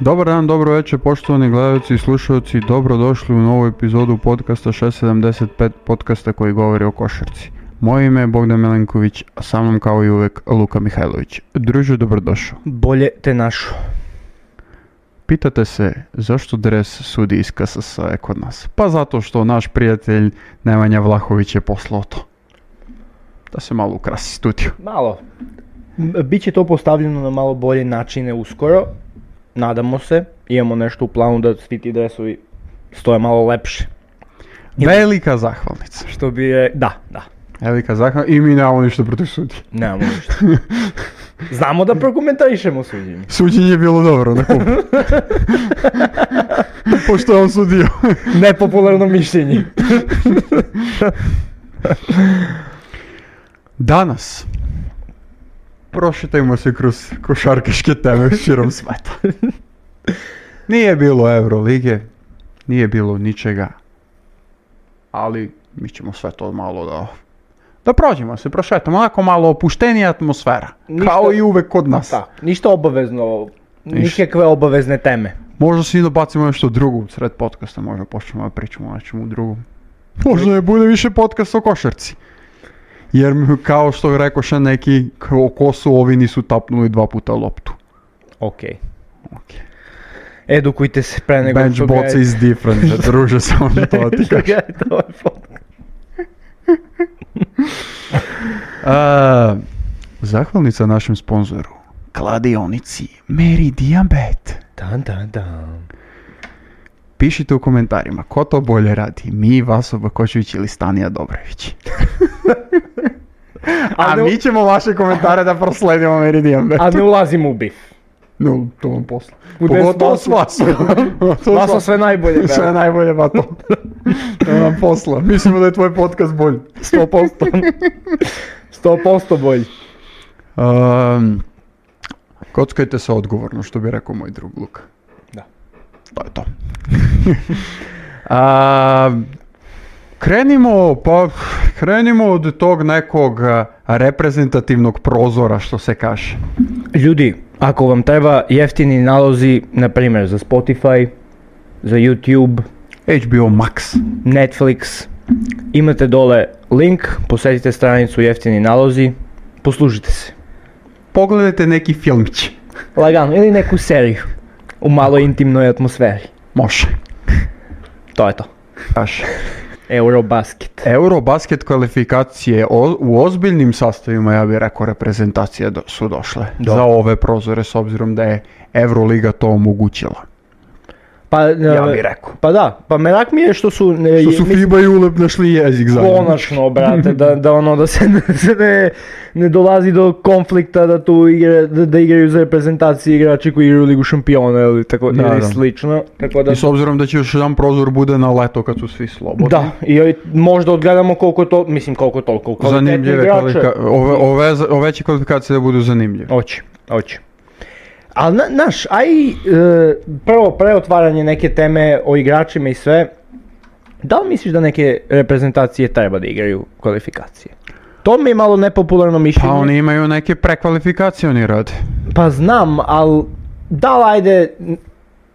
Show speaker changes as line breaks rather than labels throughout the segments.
Dobar dan, dobro večer, poštovani gledalci i slušalci, dobrodošli u novu epizodu podcasta 675, podcasta koji govori o košarci. Moje ime je Bogdan Milenković, a sa mnom kao i uvek Luka Mihajlović. Druže, dobrodošao.
Bolje te našo.
Pitate se zašto dres sudi iz KSS je kod nas? Pa zato što naš prijatelj Nemanja Vlahović je poslao to. Da se malo ukrasi studio.
Malo. M- Biće to postavljeno na malo bolje načine uskoro. Nadamo se. Imamo nešto u planu da svi ti dresovi stoje malo lepše. Ili-
Velika zahvalnica.
Što bi je... Da, da.
Velika zahvalnica i mi nemamo ništa protiv sudije.
Nemamo ništa. Znamo da prokomentarišemo suđenje.
Suđenje je bilo dobro na kupu. Pošto je on sudio.
Nepopularno mišljenje.
Danas prošetajmo se kroz košarkaške teme širom sveta. Nije bilo Eurolige, nije bilo ničega, ali mi ćemo sve to malo da... Da prođemo se, prošetamo, onako malo opuštenija atmosfera,
Ništa-
kao i uvek kod nas.
Da, ništa obavezno.
Ništa.
Nikakve obavezne teme.
Možda se i dobacimo nešto drugo sred podcasta, možda počnemo da pričamo o nečemu drugom. Možda ne bude više podcast o košarci. Jer mi, kao što rekoše neki, k- o kosu ovi nisu tapnuli dva puta loptu.
Okej.
Okay.
Edukujte se pre nego
Bench
što
bots
gledate-
is different, da druže samo to da ti
što
kažem.
gledate ovaj podcast.
A, Zahvalnica našem sponzoru, kladionici Meridian Bet.
Dan, dan, dan.
Pišite u komentarima ko to bolje radi, mi, Vaso Bakočević ili Stanija Dobrović. A
ne-
mi ćemo vaše komentare da prosledimo Meridian Bet.
A ne ulazimo u bif.
No, to vam posla.
U
Pogotovo s
desu
Vasom. To
Vaso sve najbolje. brate.
Sve najbolje, Vato. To nam posla. Mislimo da je tvoj podcast bolji.
100%. 100% bolji.
Um, kockajte se odgovorno, što bi rekao moj drug Luka.
Da.
To je to. A, krenimo, pa krenimo od tog nekog a, reprezentativnog prozora, što se kaže.
Ljudi, ako vam treba jeftini nalozi, na primjer za Spotify, za YouTube,
HBO Max.
Netflix, imate dole link, posetite stranicu jeftini nalozi, poslužite se.
Pogledajte neki filmić.
Lagano, ili neku seriju u malo intimnoj atmosferi.
Može.
To je to.
Kaže.
Eurobasket.
Eurobasket kvalifikacije o- u ozbiljnim sastavima, ja bih rekao, reprezentacije do- su došle
Da.
za ove prozore, s obzirom da je Euroliga to omogućila.
Pa,
Ja
e,
bih rekao.
pa da, pa merak mi je što su... e,
Što su
mislim-
FIBA i ULEP našli jezik zajedno.
Konačno, brate, da, da ono da se, da se ne, ne dolazi do konflikta da tu igra, da, da igraju za reprezentacije igrači koji igraju Ligu šampiona ili tako
Da,
ili
da.
slično, tako da
I s obzirom da će još jedan prozor bude na leto kad su svi slobodni.
da, i ovaj, možda odgledamo koliko to, mislim koliko toliko kvalitetni
Zanimljive
igrače.
kvalifika- ove, ove, za- ove će kvalifikacije da budu zanimljive.
Oće, oće. Ali, na, naš, aj, e, prvo preotvaranje neke teme o igračima i sve, da li misliš da neke reprezentacije treba da igraju kvalifikacije? To mi je malo nepopularno mišljenje.
Pa oni imaju neke prekvalifikacije, oni rade.
Pa znam, ali da li ajde,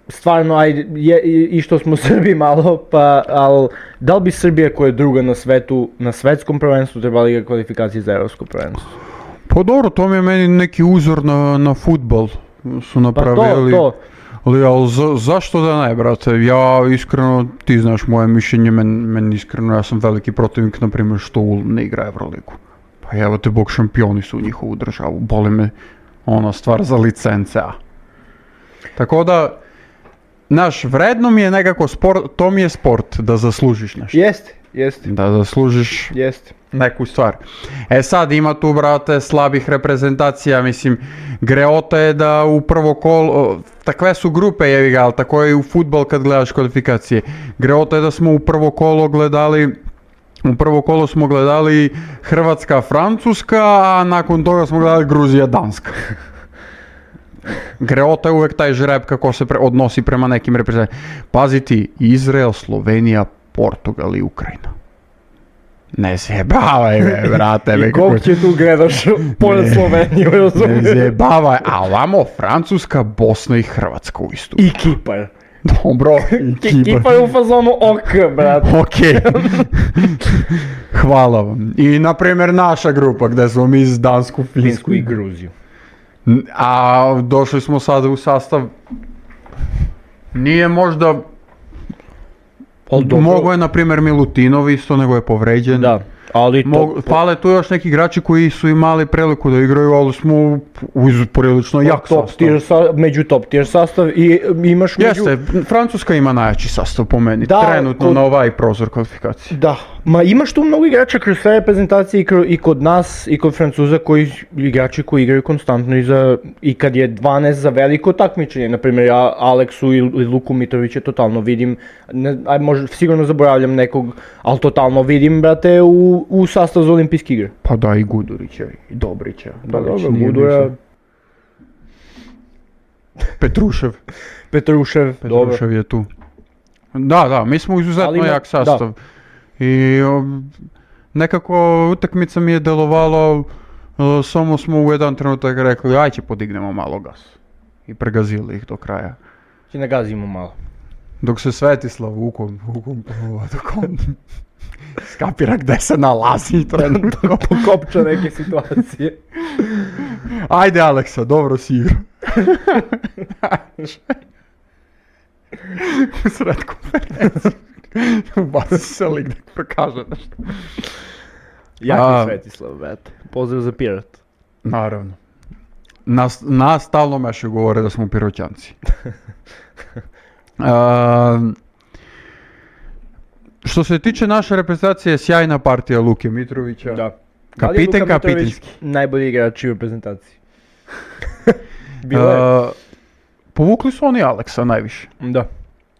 stvarno ajde, je, i- i što smo Srbi malo, pa ali da li bi Srbija koja je druga na svetu, na svetskom prvenstvu trebala igra kvalifikacije za evropsko prvenstvo?
Pa dobro, to mi je meni neki uzor na, na futbol su
Pa to,
napravili.
to,
Ali, ali za- zašto da ne, brate? Ja iskreno, ti znaš moje mišljenje, men, meni iskreno, ja sam veliki protivnik, na primjer, što Ulm ne igra Euroligu. Pa evo te, bog, šampioni su u njihovu državu, boli me ona stvar za licence A. Tako da, znaš, vredno mi je nekako sport, to mi je sport, da zaslužiš nešto.
jeste, jeste,
Da zaslužiš
jeste.
neku stvar. E sad ima tu brate slabih reprezentacija, mislim greota je da u prvo kolo, takve su grupe jevi ga, ali tako je i u futbol kad gledaš kvalifikacije. Greota je da smo u prvo kolo gledali u prvo kolo smo gledali Hrvatska, Francuska, a nakon toga smo gledali Gruzija, Danska. Greota je uvek taj žreb kako se pre- odnosi prema nekim reprezentacijama. Paziti, Izrael, Slovenija, Portugal i Ukrajina. Ne zjebavaj me, brate. me,
I
kako-
kog će tu gledaš pored
Ne.
Sloveniju,
Ne
razumiješ?
zjebavaj, a vamo Francuska, Bosna i Hrvatska u istu.
I Kipar.
Dobro,
Ki-
Kipar.
Kipar je u fazonu ok, brate.
Ok, hvala vam. I na primjer naša grupa gdje smo mi iz Dansku, Finsku
Finsku i
i
Gruziju.
A došli smo sada u sastav, nije možda, mogo je na primjer Milutinov isto nego je povređen.
Da, ali to...
Mog- fale tu još neki igrači koji su imali priliku da igraju, ali smo uz prilično jak
top
sastav.
tier sa, među top tier sastav i um, imaš među...
Jeste, Francuska ima najjači sastav po meni,
Da,
trenutno
kod-
na ovaj prozor kvalifikacije.
Da, ma imaš tu mnogo igrača kroz sve reprezentacije i, kro- i kod nas i kod Francuza koji igrači koji igraju konstantno i, za, i kad je 12 za veliko takmičenje, na primjer ja Aleksu i i Luku Mitrovića totalno vidim, ne, aj, možda, sigurno zaboravljam nekog, ali totalno vidim brate u, u sastav za olimpijske igre.
Pa da, i Gudurića, i Dobrića.
Pa
Dobrić
dobro,
nije
Gudura,
bivši. Petrušev.
Petrušev, dobro.
Petrušev je tu. Da, da, mi smo izuzetno
Ali ima-
jak sastav. I um, nekako utakmica mi je delovalo, uh, samo smo u jedan trenutak rekli, ajde podignemo malo gas. I pregazili ih do kraja.
Ti nagazimo malo.
Dok se Svetislav vukom, vukom, vukom, skapira gde se nalazi trenutno.
Pokopča neke situacije.
Ajde Aleksa, dobro si igrao. U sred konferencije. Ubaci se lik da prokaže nešto. A-
Jaki Svetislav, brate. Pozdrav za Pirat.
Naravno. Nas, nas stalno meše govore da smo piroćanci. Ehm, što se tiče naše reprezentacije, sjajna partija Luke Mitrovića.
Da.
Kapiten
Ali je Luka Mitrović
kapitinski.
Najbolji igrač u reprezentaciji. Bilo je.
Ehm, povukli su oni Aleksa najviše.
Da.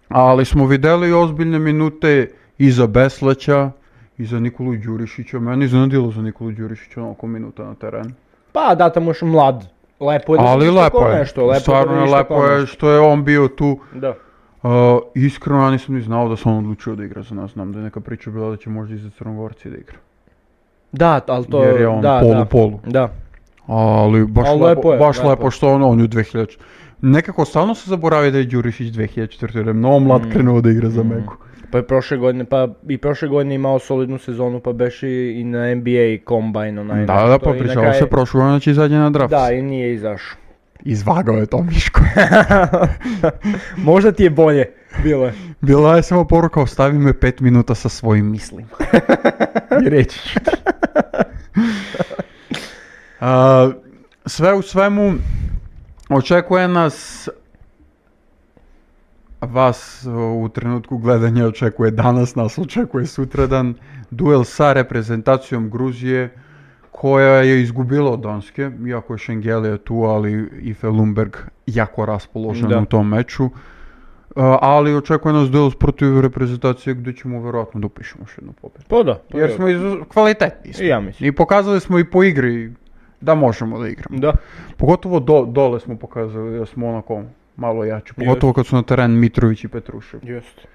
Ali smo vidjeli ozbiljne minute i za Besleća, i za Nikolu Đurišića. Mene iznenadilo za Nikolu Đurišića onako minuta na terenu.
Pa da, tamo još mlad. Lepo je Pa da
Ali
vidiš tako
lepo je.
Nešto, lepo
Stvarno je lepo je što je on bio tu.
Da.
Uh, iskreno ja nisam ni znao da se on odlučio da igra za nas. Znam da je neka priča bila da će možda i za Crnogorci da igra.
Da, ali to
Jer je on
da,
polu
da.
polu.
Da.
Ali baš
Ali
lepo,
lepo je,
baš
lepo
lepo,
je.
što on, on je u 2000. Nekako stalno se zaboravi da je Đurišić 2004. jer je mnogo
Mm.
mlad krenuo da igra za Meku.
Pa je prošle godine, pa i prošle godine imao solidnu sezonu, pa beše i i na NBA kombajn onaj.
Da,
nešto
da,
i na
pa pričalo
kraju-
se prošlo, ona će izađe na draft.
Da, i nije izašao.
Izvagao je to Miško.
Možda ti je bolje. Bilo je.
Bila je samo poruka, ostavi me pet minuta sa svojim mislima. I reći ću ti. A, sve u svemu, očekuje nas vas u trenutku gledanja očekuje danas, nas očekuje sutradan duel sa reprezentacijom Gruzije koja je izgubila od Danske, iako je Šengelija tu, ali i Felumberg jako raspoložen
Da.
u tom meču. A, ali očekuje nas duel protiv reprezentacije gdje ćemo vjerojatno dopišemo još jednu pobjedu.
Pa da. pa
Jer
da.
smo izu- kvalitetni. smo.
I ja mislim.
I pokazali smo i po igri da možemo da igramo.
Da.
Pogotovo do- dole smo pokazali da smo onako malo jači. Pogotovo kad su na teren Mitrović i Petrušev.
Just.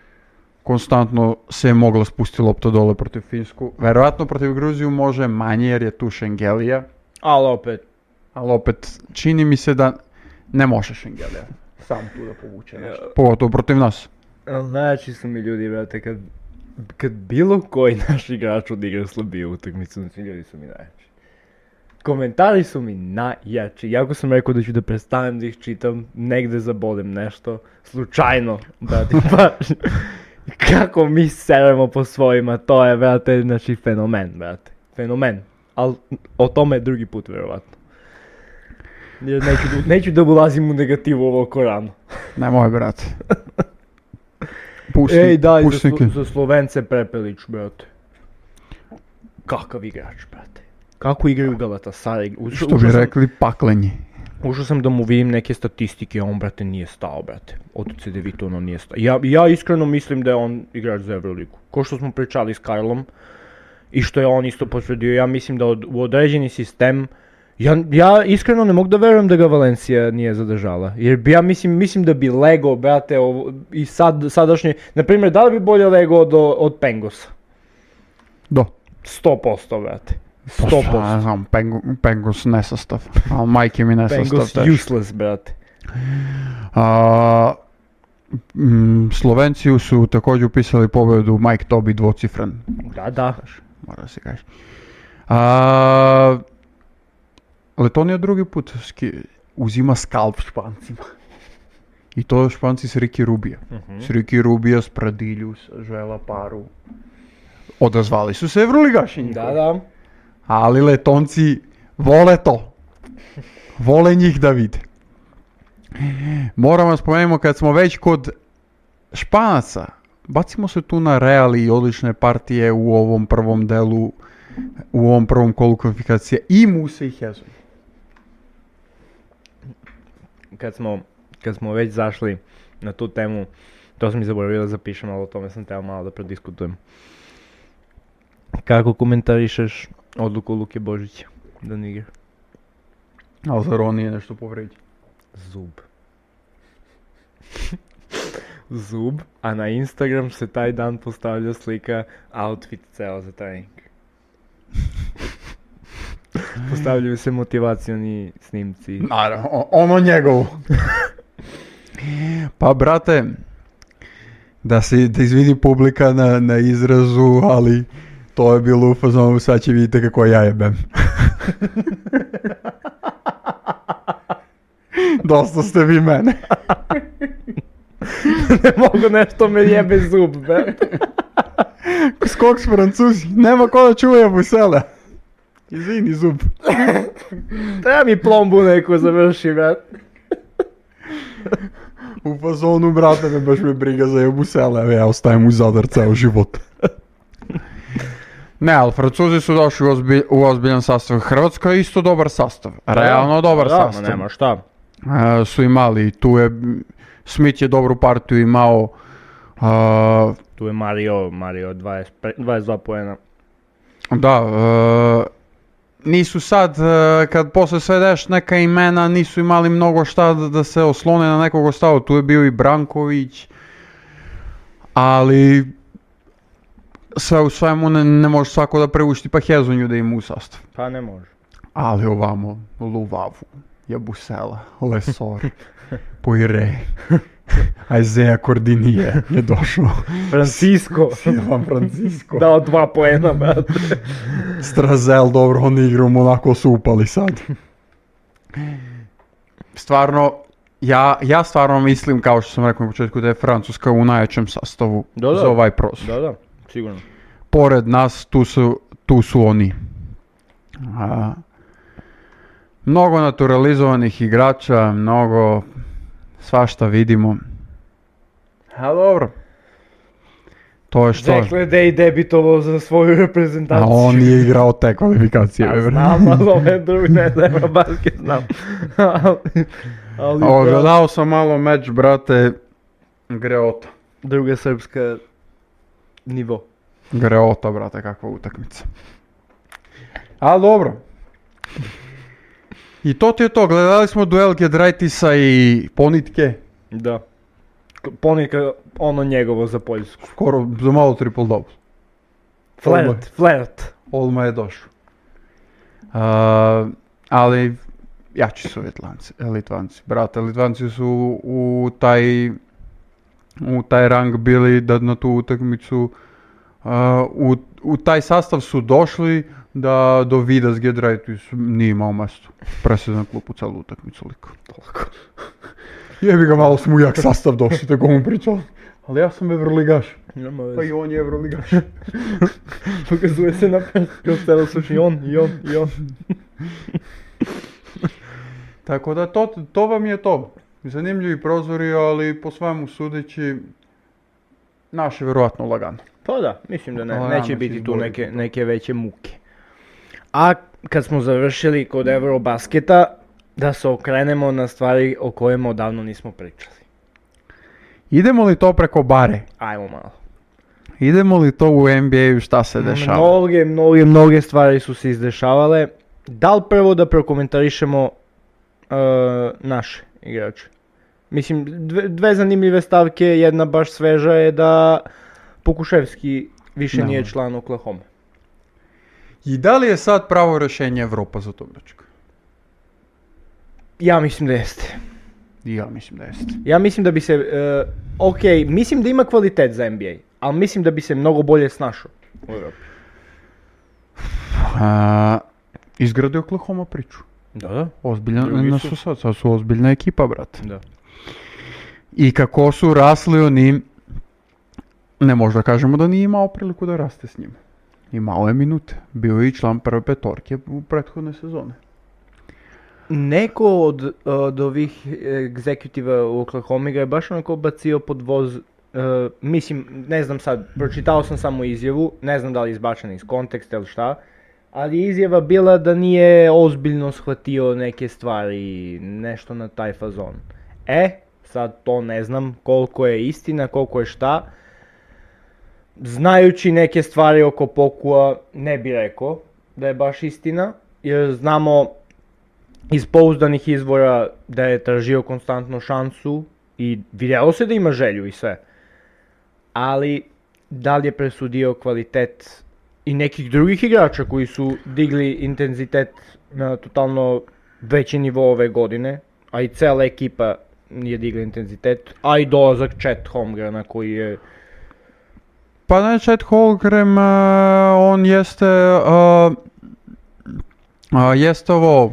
Konstantno se je mogla spustiti lopta dole protiv Finsku. Verovatno protiv Gruziju može manje jer je tu Šengelija.
Ali opet,
Ali opet, čini mi se da ne može Šengelija sam tu da povuče nešto. Pogotovo protiv nas.
Al, Znači su mi ljudi, brate, kad, kad bilo koji naš igrač odigra slabiju utakmicu, znači ljudi su mi najjači. Komentari su mi najjači. Jako sam rekao da ću da prestanem da ih čitam, negde zabodem nešto, slučajno, brate, pa... Kako mi seremo po svojima, to je, brate, znači fenomen, brate. Fenomen. Ali o tome drugi put, verovatno. Jer neću, da- neću da ulazim u negativu ovako rano.
Nemoj, brate. Pusti,
Ej, da, i za,
pusti
Slo-
neke-
za Slovence Prepelić, brate. Kakav igrač, brate. Kako igraju Galatasaray. Ušao,
Što bi rekli, paklenje.
Sam, ušao sam da mu vidim neke statistike, on, brate, nije stao, brate. Od CDV to ono nije stao. Ja, ja iskreno mislim da je on igrač za Euroligu. Ko što smo pričali s Karlom i što je on isto potvrdio, ja mislim da od, u određeni sistem ja, ja iskreno ne mogu da verujem da ga Valencija nije zadržala. Jer bi ja mislim, mislim da bi Lego, brate, ovo, i sad, sadašnje... Naprimjer, da li bi bolje Lego od, od Pengosa?
Do.
100% brate.
Pa
100%.
šta ja znam, Pengu- Penguins nestastav. Ali majke mi nestastav
Bengals
teško.
useless, brate.
A, mm, Slovenciju su također upisali pobjedu Mike Tobi dvocifren.
Da, da.
Mora da se kaže. A, Letonija drugi put ski- uzima skalp špancima. I to španci s Riki Rubija. S Riki Rubija, s Pradilju, s Žela Paru. Odazvali su se Evroligaši njihovi.
Da, da.
Ali letonci vole to. Vole njih da vide. Moramo spomenimo kad smo već kod Španaca. Bacimo se tu na reali i odlične partije u ovom prvom delu, u ovom prvom kolu kvalifikacija i Muse i Hezu.
Kad smo, kad smo već zašli na tu temu, to sam mi zaboravio da zapišem, ali o tome sam trebao malo da prediskutujem. Kako komentarišeš odluku Luke Božića da ne igra?
Ali zar on nije nešto povrijeđen?
Zub. Zub, a na Instagram se taj dan postavlja slika outfit ceo za trening. Postavljaju se motivacioni snimci.
Naravno, o- ono njegovo. pa brate, da se da izvidi publika na, na izrazu, ali to je bilo u fazonu, sad će vidite kako ja jebem. Dosta ste vi mene.
ne mogu nešto me jebe zub, be.
Skok s Francuzi, nema ko da čuje Busele. Izvini zub.
Treba mi plombu neku završi, brat.
U fazonu, brate, me baš me briga za jebusele, evo ja ostajem u Zadar ceo život. Ne, ali Francuzi su došli u, ozbi- u ozbiljan sastav. Hrvatska je isto dobar sastav. Realno dobar
da, ma
sastav.
nema šta.
E, su imali, tu je, Smith je dobru partiju imao, a,
Tu je Mario, Mario 20, pre- 22 poena.
Da, e, nisu sad, e, kad posle sve deš neka imena, nisu imali mnogo šta da, da se oslone na nekog ostalo. Tu je bio i Branković, ali sve u svemu ne, ne može svako da preušti pa Hezonju da im u sastav.
Pa ne može.
Ali ovamo, Luvavu, Jabusela, Lesor, Poire, Aizea Kordinije je došao.
Francisco.
Sjevan Francisco.
Dao dva poena, brat.
Strazel, dobro, oni igru u Monako su upali sad. Stvarno, ja, ja stvarno mislim, kao što sam rekao na početku, da je Francuska u najjačem sastavu
Da, da.
za ovaj prostor.
da, da, sigurno.
Pored nas, tu su, tu su oni. A, mnogo naturalizovanih igrača, mnogo svašta vidimo. A dobro. To je što.
Jack Ledej debitovao za svoju
A
reprezentaciju.
on je igrao te kvalifikacije.
Ja
bre.
znam, ali ove drugi ne znam, basket znam. ali, ali
A,
brat,
Gledao sam malo meč, brate, Greota.
druga srpska nivo.
Greota, brate, kakva utakmica. A dobro. I to ti je to, gledali smo duel Gedraitisa i Ponitke.
Da. Ponika ono njegovo za Poljsku.
Skoro za malo triple double. Odmah.
Flert, flert.
Olma je došao. A, ali jači su Litvanci, Litvanci. Brate, Litvanci su u taj u taj rang bili da na tu utakmicu a, u, u taj sastav su došli da do vida s Gedraitis nije imao mesto. Presedan klub u celu utakmicu liko. Jebi ga malo smo u jak sastav došli, tako mu pričao. Ali ja sam Evroligaš,
Nema
pa
veze.
i on je Evroligaš.
Pokazuje se na prstu, celo sluši i on, i on, i on.
Tako da to, to vam je to. Zanimljivi prozori, ali po svemu sudeći naše vjerojatno lagano.
Pa da, mislim da ne,
Pa da,
neće
mislim,
biti tu
bolje
neke,
bi bilo.
neke veće muke. A kad smo završili kod Eurobasketa, da se okrenemo na stvari o kojima odavno nismo pričali.
Idemo li to preko bare?
Ajmo malo.
Idemo li to u NBA-u šta
Mm,
se dešava?
Mnoge, mnoge, mnoge stvari su se izdešavale. Da li prvo da prokomentarišemo e, naše igrače? Mislim, dve, dve zanimljive stavke, jedna baš sveža je da Pokuševski više
Da.
nije član Oklahoma.
I da li je sad pravo rješenje Evropa za to mečka?
Ja mislim da jeste.
Ja mislim da jeste.
Ja mislim da bi se, e, ok, mislim da ima kvalitet za NBA, ali mislim da bi se mnogo bolje snašao u Europi.
A, izgrade Pa, Oklahoma priču.
Da, da. Drugi
Ozbiljna
su.
su sad, sad su ozbiljna ekipa, brate.
Da.
I kako su rasli oni, ne možda kažemo da nije imao priliku da raste s njim. Imao je minute. Bio je i član prve petorke u prethodne sezone.
Neko od, e, od ovih egzekutiva u Oklahoma ga je baš onako bacio pod voz, e, mislim, ne znam sad, pročitao sam samo izjavu, ne znam da li je izbačena iz konteksta ili šta, ali je izjava bila da nije ozbiljno shvatio neke stvari, nešto na taj fazon. E, sad to ne znam koliko je istina, koliko je šta, znajući neke stvari oko Pokua ne bi rekao da je baš istina, jer znamo iz pouzdanih izvora da je tražio konstantno šansu i vidjelo se da ima želju i sve. Ali da li je presudio kvalitet i nekih drugih igrača koji su digli intenzitet na totalno veći nivo ove godine, a i cela ekipa je digla intenzitet, a i dolazak Chet Holmgrena koji je
Pa ne, Chet Holmgren, e, on jeste, e, a, jeste ovo, e,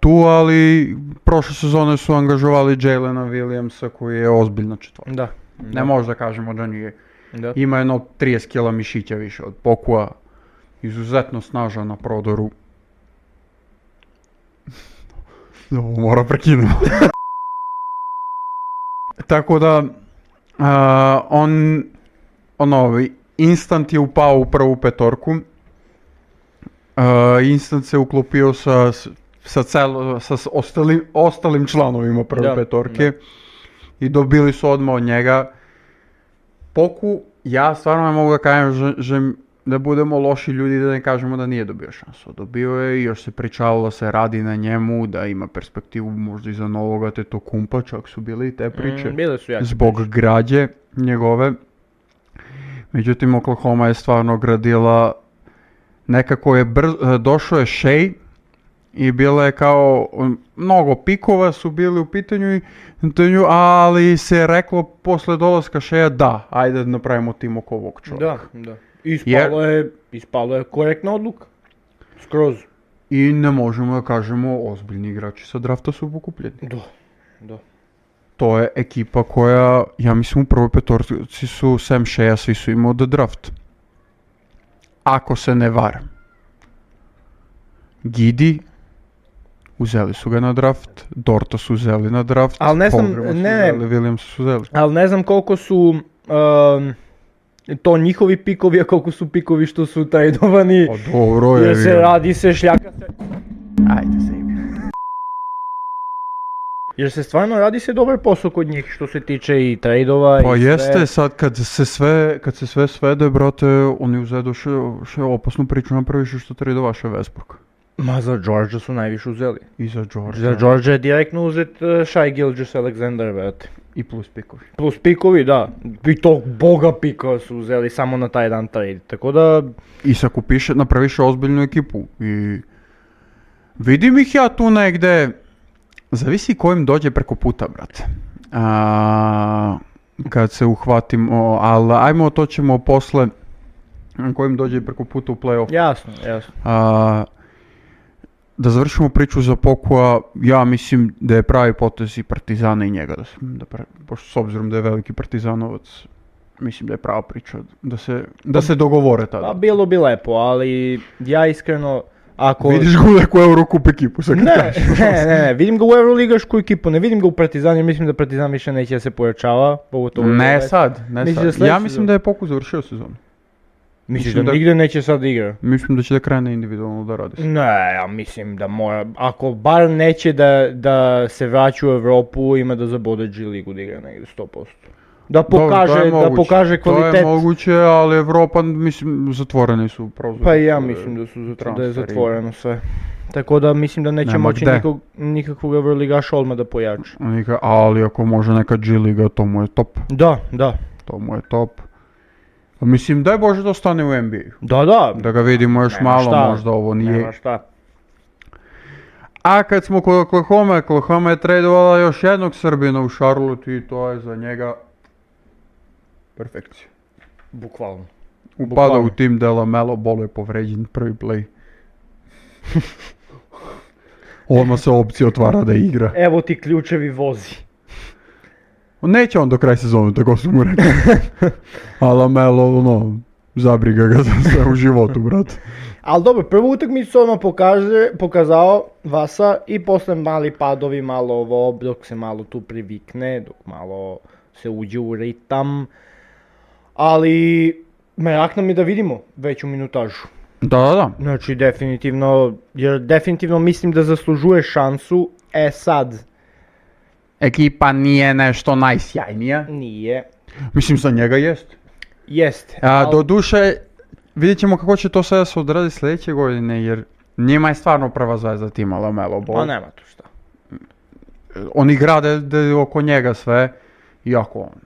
tu, ali prošle sezone su angažovali Jalena Williamsa koji je ozbiljna četvorka.
da,
Ne možda kažemo da nije.
da.
Ima jedno 30 kila mišića više od Pokua. Izuzetno snažan na prodoru. Ovo mora prekinemo. Tako da, a, on, ono, instant je upao u prvu petorku. A, instant se uklopio sa, s- sa, cel, sa s- ostalim, ostalim članovima prve
Da,
petorke. I dobili su odmah od njega. Poku, ja stvarno ne mogu da kažem že- že da budemo loši ljudi da ne kažemo da nije dobio šansu. Dobio je i još se pričalo da se radi na njemu, da ima perspektivu možda i za novoga Tetokumpa, čak su bile i te priče
Mm, bile su jake.
zbog građe njegove. Međutim, Oklahoma je stvarno gradila, nekako je brz- e, došao je Shea i bila je kao, um, mnogo pikova su bili u pitanju, i- pitanju, ali se je reklo posle dolaska Shea da, ajde da napravimo tim oko ovog čovjeka.
Da, da. Ispalo je, ispalo je korektna odluka. Skroz.
I ne možemo da kažemo, ozbiljni igrači sa drafta su pokupljeni.
Da, da.
To je ekipa koja, ja mislim u prvoj petorci su sem Shea, svi su imao da draft. Ako se ne varam. Gidi, uzeli su ga na draft, Dorta su uzeli na draft,
Al ne znam,
Holmgrena su
ne, ne.
uzeli, Williams su uzeli.
Ali ne znam koliko su um, to njihovi pikovi, a koliko su pikovi što su trajdovani.
Pa dobro je.
Jer se
vidim.
radi se šljaka se.
Ajde, se jebi.
Jer se stvarno radi se dobar posao kod njih što se tiče i trajdova
Pa
i
jeste,
sve.
sad kad se sve, kad se sve svede, brate, oni uzedoše še opasnu priču napraviše što tradovaše Vesburg.
Ma za Georgia su najviše uzeli.
I za George.
Za Georgia je direktno uzet uh, Shai Gilgis Alexander, brate.
I plus pikovi.
Plus pikovi, da. I tog boga pikova su uzeli samo na taj dan trade. Tako da,
I sakupiš, napraviš ozbiljnu ekipu. I vidim ih ja tu negde. Zavisi kojim dođe preko puta, brate. A, kad se uhvatimo, ali ajmo to ćemo posle kojim dođe preko puta u playoff.
jasno, jasno.
A, da završimo priču za Pokua, ja mislim da je pravi potez i Partizana i njega, da se, da pre- pošto s obzirom da je veliki Partizanovac, mislim da je prava priča, da se, da se dogovore
Pa
tada.
bilo bi lepo, ali ja iskreno, ako...
Vidiš Gulek u Eurocup ekipu, sad kad
Ne,
kažeš.
ne, ne, ne, vidim ga u Euroligašku ekipu, ne vidim ga u Partizan jer mislim da Partizan više neće da se pojačava, pogotovo...
Ne
ove-
sad, ne
Misliš da
sad.
sledeću
Ja mislim
sezonu?
da je Poku završio sezonu.
Misliš da,
mislim da-
nigde neće sad da igra?
Mislim da će da krene individualno da radi. se.
Ne, ja mislim da mora, ako bar neće da, da se vraća u Europu, ima da zabode G ligu da igra negdje 100%. Da
Dobro, to je
pokaže, da
moguće.
pokaže
To
kvalitet.
je moguće, ali Evropa, mislim, zatvoreni su prozori.
Pa i ja mislim da, su, zat- da je
transferi.
zatvoreno sve. Tako da mislim da neće
Nema
moći
gde.
nikog, nikakvog Euroligaša odmah da pojača.
Nika- Ali ako može neka G liga, to mu je top.
Da, da.
To mu je top. Mislim, daj Bože da ostane u NBA.
Da, da.
Da ga vidimo još
Nema
malo,
šta.
možda ovo nije.
Nema šta.
A kad smo kod Oklahoma, Oklahoma je tradovala još jednog Srbina u Charlotte i to je za njega perfekcija.
Bukvalno.
Upada
Bukvalno.
u tim da je Lamelo Ball je povređen prvi play. Odmah se opcija otvara da igra.
Evo ti ključevi vozi.
Neće on do kraja sezone, tako su mu rekli. A Lamelo, ono, zabriga ga za sve u životu, brate.
Ali dobro, prvu utakmicu odmah pokaže, pokazao Vasa i posle mali padovi, malo ovo, dok se malo tu privikne, dok malo se uđe u ritam. Ali, merak nam je da vidimo veću minutažu.
Da, da, da.
Znači, definitivno, jer definitivno mislim da zaslužuje šansu, e sad,
Ekipa nije nešto najsjajnija.
nije.
Mislim, za njega jeste.
Jeste.
A,
ali-
do duše, vidjet ćemo kako će to sada se odradi sljedeće godine, jer njima je stvarno prva zvezda tima Lamelo Ball.
Pa nema tu šta.
On igra da, da je oko njega sve, iako on.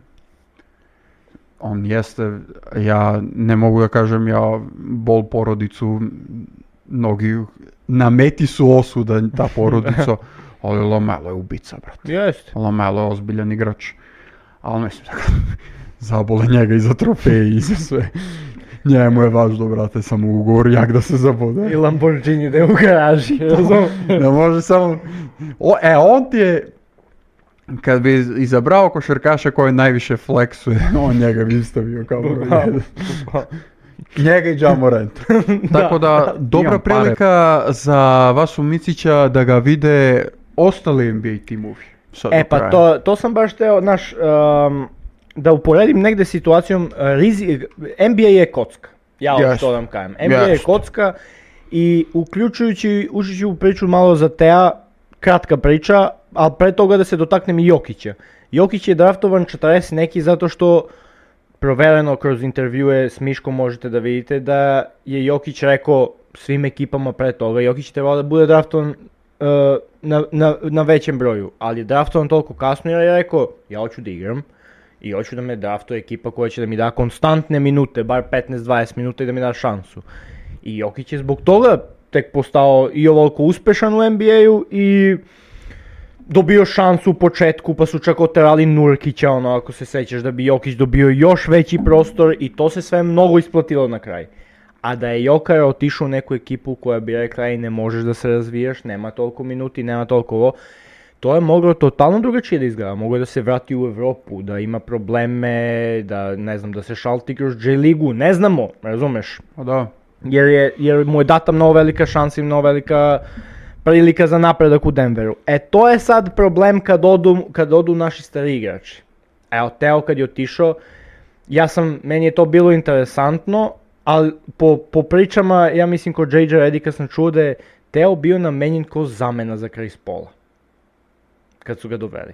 On jeste, ja ne mogu da kažem, ja Ball porodicu, mnogi, na meti su osuda ta porodica, ali Lamelo je ubica, brate.
Jeste.
Lamelo je Ono ozbiljan igrač. Ali mislim da ga zabole njega i za trofeje i za sve. Njemu je važno, brate, samo ugovor jak da se
I
zabode.
Lamborghini da je u garaži, razumem.
Ne može samo... O, e, on ti je... Kad bi iz- izabrao košarkaša koji najviše fleksuje, on njega bi stavio kao broj jedan. Njega i Jamorant. Tako da, dobra
Imam pare.
prilika za vas u Micića da ga vide ostali NBA timovi. sad
E
do
pa
kraja.
to, to sam baš teo, znaš, em, da uporedim negde situacijom, e, rizi, NBA je kocka, ja yes.
Jest.
to vam kajem. NBA je
Jest.
kocka i uključujući, ušući u priču malo za Tea, kratka priča, ali pre toga da se dotaknem i Jokića. Jokić je draftovan 40 neki zato što provereno kroz intervjue s Miškom možete da vidite da je Jokić rekao svim ekipama pre toga, Jokić je trebao da bude draftovan e, na, na, na većem broju, ali je draftovan toliko kasno jer je rekao ja hoću da igram i hoću da me draftuje ekipa koja će da mi da konstantne minute, bar 15-20 minuta i da mi da šansu. I Jokić je zbog toga tek postao i ovoliko uspešan u NBA-u i dobio šansu u početku, pa su čak oterali Nurkića, ono, ako se sećaš, da bi Jokić dobio još veći prostor i to se sve mnogo isplatilo na kraj. A da je Jokar otišao u neku ekipu koja bi rekla, ej, ne možeš da se razvijaš, nema toliko minuti, nema toliko ovo, to je moglo totalno drugačije da izgleda. Moglo je da se vrati u Evropu, da ima probleme, da ne znam, da se šalti kroz J-ligu, ne znamo, razumeš?
Pa da.
jer, je, jer mu je data mnogo velika šansa i mnogo velika prilika za napredak u Denveru. E to je sad problem kad odu, kad odu naši stari igrači. Evo, Teo kad je otišao, ja sam, meni je to bilo interesantno, ali po, po pričama, ja mislim kod JJ Redika sam čuo da je Teo bio namenjen kao zamena za Chris Paula. Kad su ga doveli.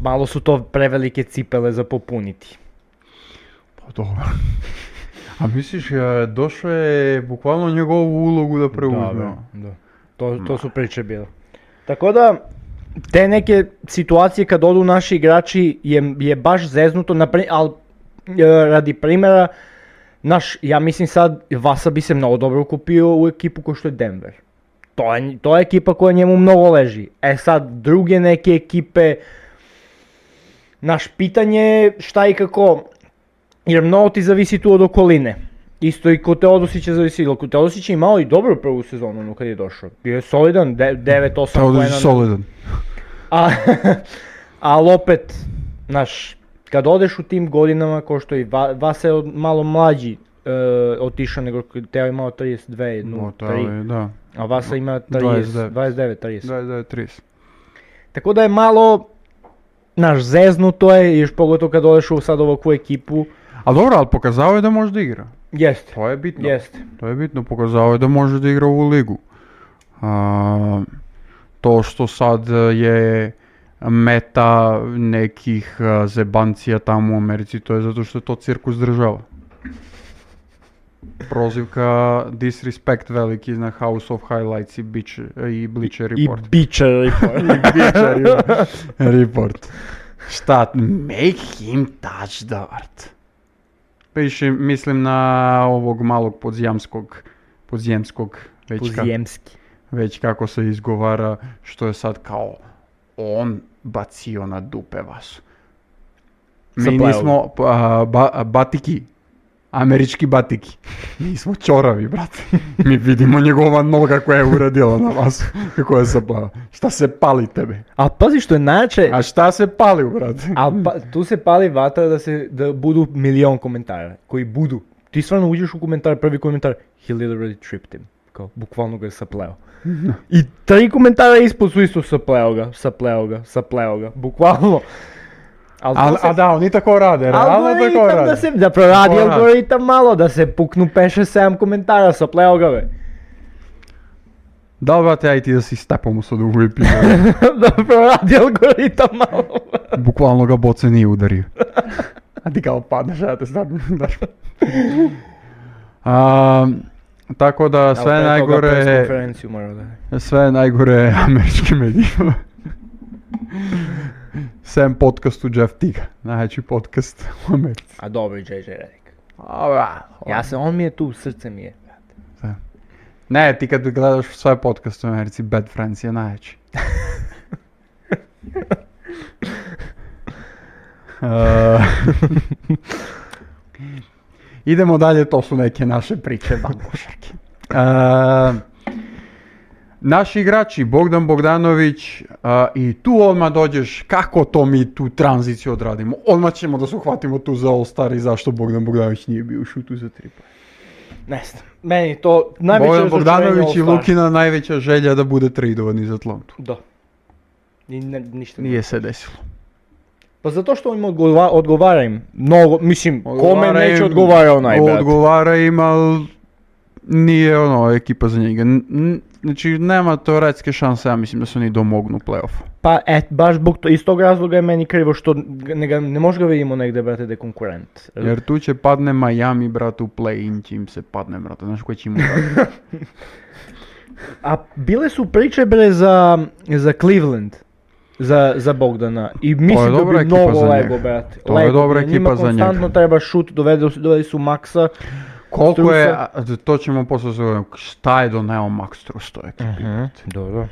Malo su to prevelike cipele za popuniti.
Pa dobro. A misliš, e, došao je bukvalno njegovu ulogu da preuzme.
Da, da. To, to su priče bile. Tako da, te neke situacije kad odu naši igrači je, je baš zeznuto, napri, ali e, radi primjera, naš, ja mislim sad, Vasa bi se mnogo dobro kupio u ekipu kao što je Denver. To je, to je ekipa koja njemu mnogo leži. E sad, druge neke ekipe, naš pitanje je šta i kako, jer mnogo ti zavisi tu od okoline. Isto i kod Teodosića zavisi, ali kod Teodosić je imao i dobru prvu sezonu ono kad je došao. Bio je solidan, de- 9-8
Kao da
poena
si
na-
solidan.
a, ali opet, znaš, kad odeš u tim godinama, ko što i Va, Vasa je od- malo mlađi e, otišao nego kad Teo je imao 32,
No,
no,
to je, da.
a Vasa ima 30,
29.
29, 30.
Da, da, je 30.
Tako da je malo, znaš, zeznuto je, još pogotovo kad odeš u sad ovakvu ekipu.
A dobro, ali pokazao je da može da igra.
Jeste,
To je bitno.
jeste.
To je bitno, pokazao je da može da igra u ligu. A, to što sad e, je meta nekih e, zebancija tamo u Americi, to je zato što je to cirkus država. Prozivka disrespect veliki na House of Highlights i, Beach, i Bleacher
I
Report.
biće report.
Bleacher Report. Šta? Make him touch the art. Piše, mislim na ovog malog podzemskog, podzemskog, već, ka-
Pozijemski.
već kako se izgovara, što je sad kao on bacio na dupe vas. Mi
Zapleo.
nismo a, ba- a, batiki, američki batiki. Mi smo čoravi, brate. Mi vidimo njegova noga koja je uradila na vas, kako je zaplava. Šta se pali tebe?
A pazi što je najjače,
A šta se pali, brate?
a pa, tu se pali vatra da se da budu milion komentara, koji budu. Ti stvarno uđeš u komentar, prvi komentar, he literally tripped him. Kao, bukvalno ga je sapleo. I tri komentara ispod su isto sapleo ga, sapleo ga, sapleo ga, bukvalno. Al to
A,
se-
a da, oni tako rade, realno tako
Algoritam
rade.
da se, da proradi
Tako radi.
algoritam malo, da se puknu 5-6-7 komentara, sapleo ga bе.
Da, brate, aj ti da si stepamo sad u ovu epizodu.
da proradi algoritam malo.
Bukvalno ga boce nije udario. A ti kao padneš, a te sad daš. A, tako da sve
Al, pre
najgore
Toga,
je-
konferenciju mora da je.
sve najgore je američki medijima. Sem podcastu Jeff Tiga, najveći podcast u Americi.
A dobro, JJ Redick.
Ova,
Ja se, on mi je tu, srce mi je. brate.
Ne, ti kad gledaš sve podcaste u Americi, Bad Friends je najveći. Eh, idemo dalje, to su neke naše priče van košarke. Eh, naši igrači, Bogdan Bogdanović, a, i tu odmah dođeš kako to mi tu tranziciju odradimo. Odmah ćemo da se uhvatimo tu za All-Star i zašto Bogdan Bogdanović nije bio u šutu za tri pojena.
Ne znam, meni to najveće
Bojan
razočarenje
Bogdanović i
All-Star.
Lukina najveća želja da bude tradovani za Atlantu.
Da. Ni, ne, ništa.
Nije se desilo.
Pa zato što im odgova, odgovara im. Mnogo, mislim, kome
Odgovara
neće
im-
odgovara onaj, brate.
Odgovara im, ali nije ono ekipa za njega. N- n- znači, nema teoretske šanse, ja mislim da se oni domognu play-offa.
Pa et, baš zbog to, iz tog razloga je meni krivo što ga- ne, ga, ne možemo ga vidimo negde, brate, da je konkurent.
Jer tu će padne Miami, brate, u play-in će im se padne, brate. Znaš koji će im uraditi?
A bile su priče, bre, za, za Cleveland. Za, za Bogdana. I mislim da
dobra
bi
ekipa
mnogo
za
lego,
njega.
brate.
To je
Lego,
dobra
jer njima
ekipa za njega.
konstantno treba šut, dovede, dovede su Maxa.
Koliko je,
Strusa.
a, to ćemo posle se govoriti, šta je doneo Max Strus toj
E.
ekipi?
Dobro.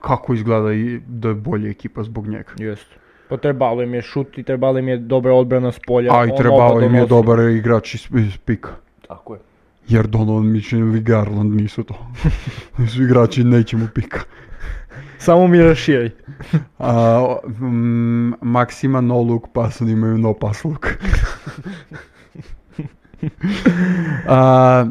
Kako izgleda i da je bolja ekipa zbog njega?
Jeste. Pa trebalo im je šut i trebalo im je dobra odbrana s polja.
A i
on
trebao
oba
im je
donosi.
dobar igrač iz, iz pika.
Tako je.
Jer Donovan Mitchell i Garland nisu to. Nisu igrači, nećemo pika.
Samo mi raširaj.
A, o- mm, Max ima no look pass, oni imaju no pass look. A,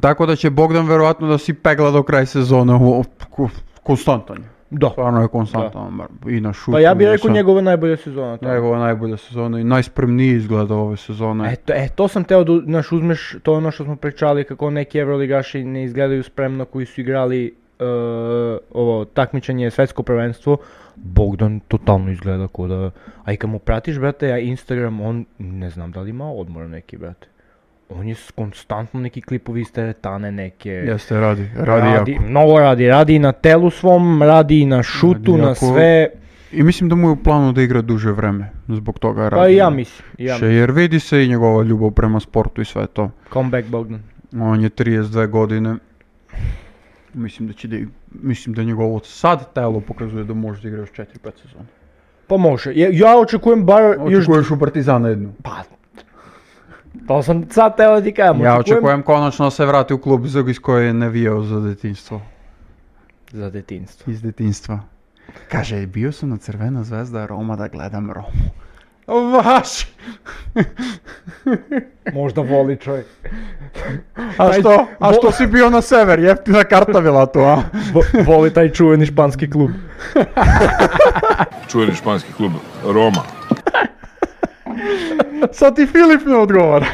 tako da će Bogdan verovatno da si pegla do kraja sezone. Ovo, ko- konstantan je.
Da.
Stvarno je konstantan. bar- I na šutu.
Pa ja
i
bih
na
rekao
sve.
njegova najbolja sezona. to je.
Njegova najbolja sezona i najspremniji izgleda ove sezone.
E to, e, to sam teo da u- znaš, uzmeš, to je ono što smo pričali kako neki evroligaši ne izgledaju spremno koji su igrali e, ovo takmičenje svetsko prvenstvo. Bogdan totalno izgleda kao da, a i kad mu pratiš brate, a Instagram, on ne znam da li ima odmor neki brate. On je s- konstantno neki klipovi iz teretane neke.
Jeste, radi. Radi, jako.
Mnogo radi, radi i na telu svom, radi i na šutu, na
jako.
sve.
I mislim da mu je u planu da igra duže vreme. Zbog toga radi.
Pa i ja mislim, i ja
Še,
mislim.
jer vidi se i njegova ljubav prema sportu i sve to.
Comeback Bogdan.
On je 32 godine. Mislim da će da, mislim da njegovo sad telo pokazuje da može da igra još 4-5 sezona.
Pa može. Ja, ja očekujem bar još
Očekuješ u Partizana jednu.
Pa, to sam sad teo da ti kažem.
Ja očekujem konačno da se vrati u klub za- iz koje je navijao za detinstvo.
Za detinstvo.
Iz detinstva. Kaže, bio sam na Crvena zvezda Roma da gledam Romu. Vaš!
Možda voli čovjek.
A
Taj-
što? Pa A
vo-
što si bio na sever? Jeftina karta bila to, a?
voli taj čuveni španski klub.
čuveni španski klub Roma.
Sad ti Filip ne odgovara.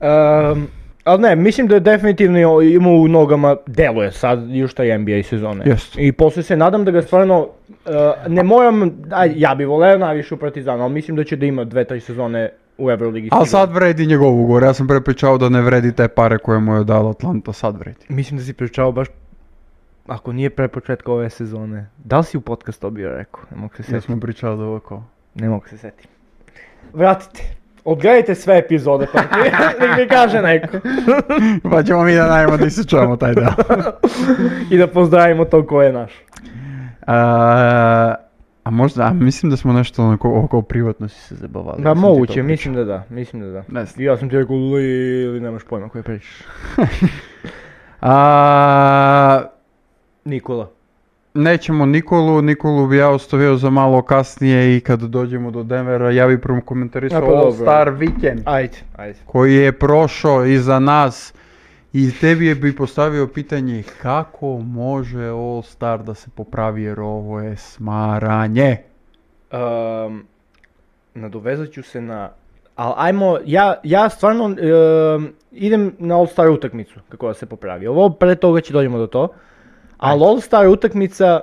Ehm, ali ne, mislim da je definitivno ima u nogama, deluje sad još taj NBA sezone.
Jest.
I posle se nadam da ga stvarno, uh, ne moram, aj, ja bi voleo najviše u Partizanu, ali mislim da će da ima dve, tri sezone u Euroligi.
Ali
sigurno.
sad vredi njegov ugovor. Ja sam prepričao da ne vredi te pare koje mu je dala Atlanta. Sad vredi.
Mislim da si pričao baš ako nije pre početka ove sezone, da li si u podcast to bio rekao? Ne mogu se
Ja
setiti.
smo pričali da ovo kao.
Ne mogu se setiti. Vratite. Odgledajte sve epizode, pa nek mi kaže neko.
Pa ćemo mi da najmo da isečujemo taj deo.
I da pozdravimo to ko je naš.
A, a možda, a mislim da smo nešto onako oko privatno si se zabavali.
Da,
Sam ti to
moguće,
pričao.
mislim da da, mislim da da.
Ne znam.
I Ja sam ti rekao, li, ili nemaš pojma koje pričaš.
A,
Nikola.
nećemo Nikolu, Nikolu bi ja ostavio za malo kasnije i kad dođemo do Denvera, ja bi prvom komentarisao
A, pa
All
dobro.
Star Weekend.
Ajde, ajde.
koji je prošao iza nas i tebi je bi postavio pitanje kako može All Star da se popravi jer ovo je smaranje.
Um, nadovezat ću se na... Ali ajmo, ja, ja stvarno um, idem na All Star utakmicu, kako da se popravi. Ovo pre toga će dođemo do to. Ali All Star utakmica,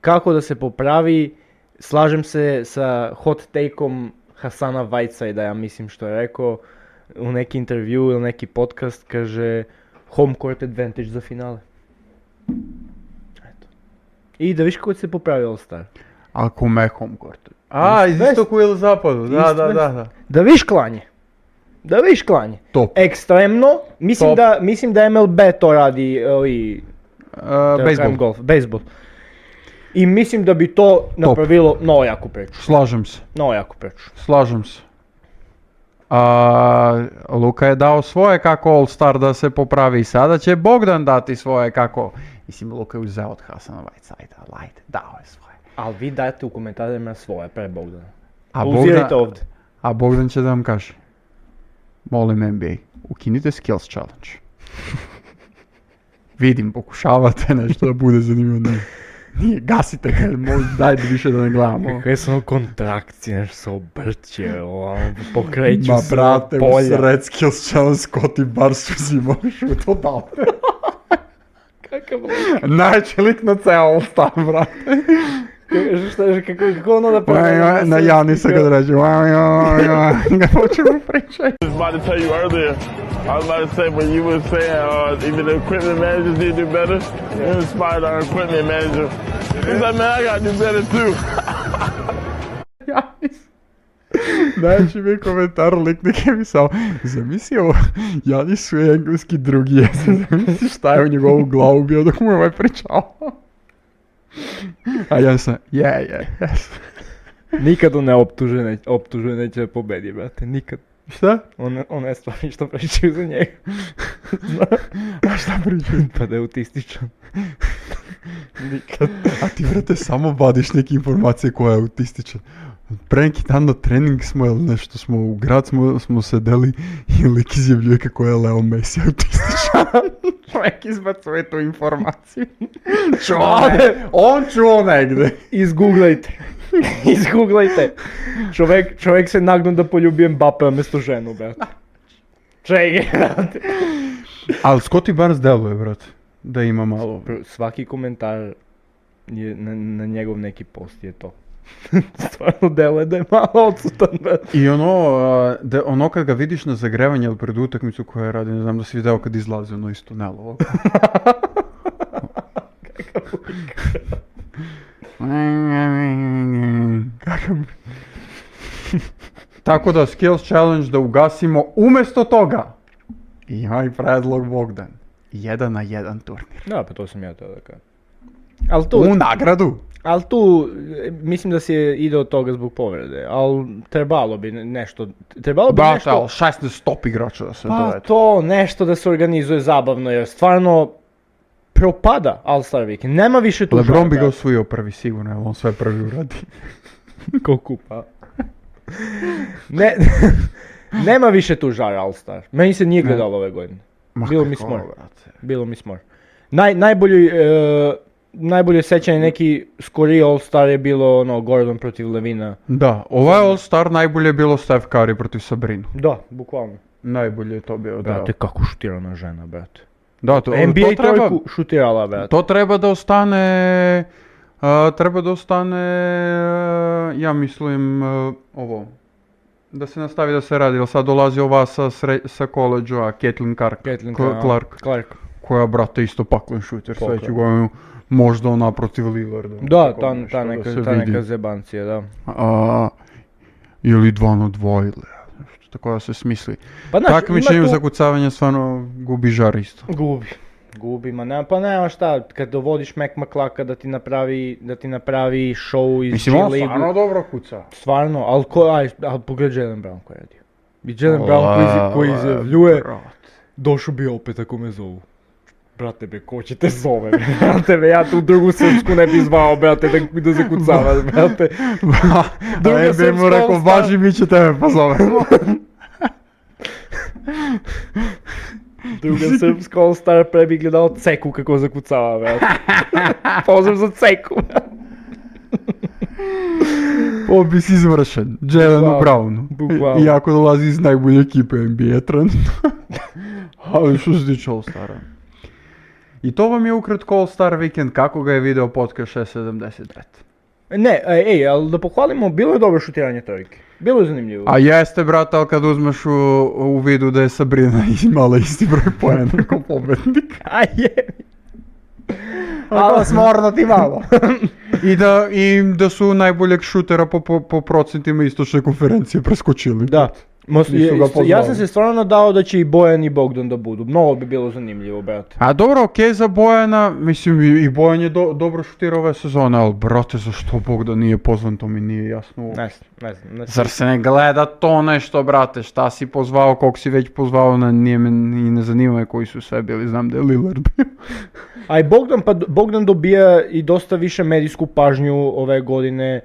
kako da se popravi, slažem se sa hot take-om Hasana Whiteside, ja mislim što je rekao u neki intervju ili neki podcast, kaže home court advantage za finale. Eto. I da viš kako će se popravi All Star.
Ako me home court. A, iz
West.
istoku ili zapadu, da,
East
da, da,
West.
da. E,
Da viš klanje. Da viš klanje.
Top.
Ekstremno, mislim,
Top.
da, mislim da MLB to radi, ovi,
E,
kažem
bejsbol.
golf, bejsbol. I mislim da bi to napravilo novo jaku preču,
Slažem se,
novo jaku preču.
slažem se. A, Luka je dao svoje kako All Star da se popravi i sada će Bogdan dati svoje kako... Mislim, Luka je uzeo od Hasana Whiteside, ali ajde, dao je svoje.
Ali vi dajte u komentarima svoje, pre Bogdana.
A
Uzirajte
Bogdan-
ovdje.
A Bogdan će da vam kaže. Molim NBA, ukinite skills challenge. Vidim, pokušavate nešto da bude zanimljivo. Ne. Nije, gasite ga, moj, dajte više da ne gledamo.
Kakve su ono kontrakcije, nešto se obrće, ono, pokreću
Ma
se
brate, u
polja.
sred skills challenge Scotty Barnes uzima šut od dal.
Kakav
Najče lik na ceo All Star, brate.
Šta, kako, kako ono da
Oj, oj, Na Janisa kad ređe. oj, oj, oj, Ga počnemo pričati.
was about to tell you earlier. I was about to say when you were saying uh, even the equipment managers need to do better. It inspired our equipment manager. He's like, man, I gotta do better too.
Janis. Najveći mi je komentar, lik nek je pisao, zamisli ovo, Janis je engleski drugi jezik, zamisli šta je u njegovu glavu bio dok mu je ovaj pričao. A Janis je, yeah, yeah, yes.
Nikad on ne optuže, ne, optuže neće da pobedi, brate, nikad.
Šta?
On, on je stvarno što pričaju za njega.
A šta pričaju?
pa da je autističan.
A ti vrate samo vadiš neke informacije koja je autistična. Pre neki dan na trening smo ili nešto smo u grad smo, smo sedeli i lik izjavljuje kako je Leo Messi autističan. Čovjek izbacuje tu informaciju. Čuo ne, on čuo negde.
Izguglajte. Izguglajte. Čovek, čovek se nagnu da poljubi Mbappe mesto ženu, brate. Čekaj, brate.
Ali Scotty Barnes deluje, brate, da ima malo.
Pr- Svaki komentar je na, na njegov neki post je to. Stvarno deluje da je malo odsutan, brate.
I ono, a, da, ono kad ga vidiš na zagrevanje ili pred utakmicu koja radi, ne znam da si video kad izlazi ono iz tunela ovako. Kakav- Tako da skills challenge da ugasimo umjesto toga. I imaj predlog Bogdan. Jedan na jedan turnir.
Da, pa to sam ja to da kažem. Ali tu,
U nagradu.
ali tu, e, mislim da si je ide od toga zbog povrede, ali trebalo bi ne- nešto, trebalo bi
Brate,
nešto...
ali 16 top igrača da se
Pa
dovede.
to nešto da se organizuje zabavno, jer stvarno propada All Star Weekend. Nema više tu
Lebron bi ga osvojio prvi sigurno, jer on sve prvi uradi.
Ko kupa. ne, nema više tu žara All Star. Meni se nije gledalo ove godine.
Ma
Bilo mi
kako,
smor.
brate.
Bilo mi smor. Naj, najbolji, e, najbolje sećanje neki skoriji All Star je bilo ono Gordon protiv Levina.
Da, ovaj All Star najbolje je bilo Steph Curry protiv Sabrinu.
Da, bukvalno.
Najbolje je to bio, da.
Brate, kako šutirana žena, brate.
Da, to,
NBA
to treba,
trojku šutirala, brate.
to treba da ostane, a, treba da ostane, a, ja mislim, a, ovo, da se nastavi da se radi, jer sad dolazi ova sa, sre, sa koleđa, Caitlin Clark,
Caitlin
Cl- Clark,
Clark.
koja je, brate, isto paklen šuter.
Paklen.
Sledeću godinu možda ona protiv Lillarda.
Da,
Tako
ta,
nešto
ta,
da
neka,
se
ta
vidi.
neka zebancija, da.
A, ili 2 na 2 ili nešto tako da se smisli.
Pa znaš,
Takmičenje
ima
tu...
tu-
zakucavanja stvarno gubi žar isto.
Gubi. Gubi, ma nema, pa nema šta, kad dovodiš Mac McClaka da ti napravi, da ti napravi show iz
Mislim,
G
on
ligu.
stvarno dobro kuca.
Stvarno, ali ko, aj, ali pogled Jalen Brown koji je radio. I Jalen Brown koji,
Bravo,
iz- koji izjavljuje,
brate.
došao bi opet ako me zovu. Brate be, ko će te zove, bre? brate be, ja tu drugu srpsku ne bi zvao, brate, da, da zakucavaš, brate. Druga
A NBA mu
srpska
rekao,
All-Star.
važi, mi će tebe pozovemo.
Druga srpska All Star pre bi gledao Ceku kako zakucava, brate. Pozdrav za Ceku.
Opis izvršen. Jelenu
Bukvalno,
Brownu.
bukvalno.
I- Iako dolazi iz najbolje ekipe NBA trenutno. Ali što se tiče All-Stara. I to vam je ukratko All-Star vikend, kako ga je video podcast 675.
Ne, ej, ej, ali da pohvalimo, bilo je dobro šutiranje trojke. Bilo je zanimljivo.
A jeste, brate, ali kad uzmeš u, u vidu da je Sabrina imala isti broj poena kao pobednik.
A je.
Ako smorno ti malo. I da, I da su najboljeg šutera po, po, po procentima istočne konferencije preskočili.
Da. Mos,
Nisu
je-
ga
ja
pozvali.
sam se stvarno nadao da će i Bojan i Bogdan da budu. Mnogo bi bilo zanimljivo, brate.
A dobro, okej za Bojana, mislim i- i Bojan je do- dobro šutirao ove sezone, ali brate, zašto Bogdan nije pozvan, to mi nije jasno. uopće.
Ne znam, ne znam. Ne znam.
Zar se ne gleda to nešto, brate, šta si pozvao, kog si već pozvao, na, nije me, ni ne zanima me koji su sve bili, znam da je Lillard bio.
A i Bogdan, pa Bogdan dobija i dosta više medijsku pažnju ove godine.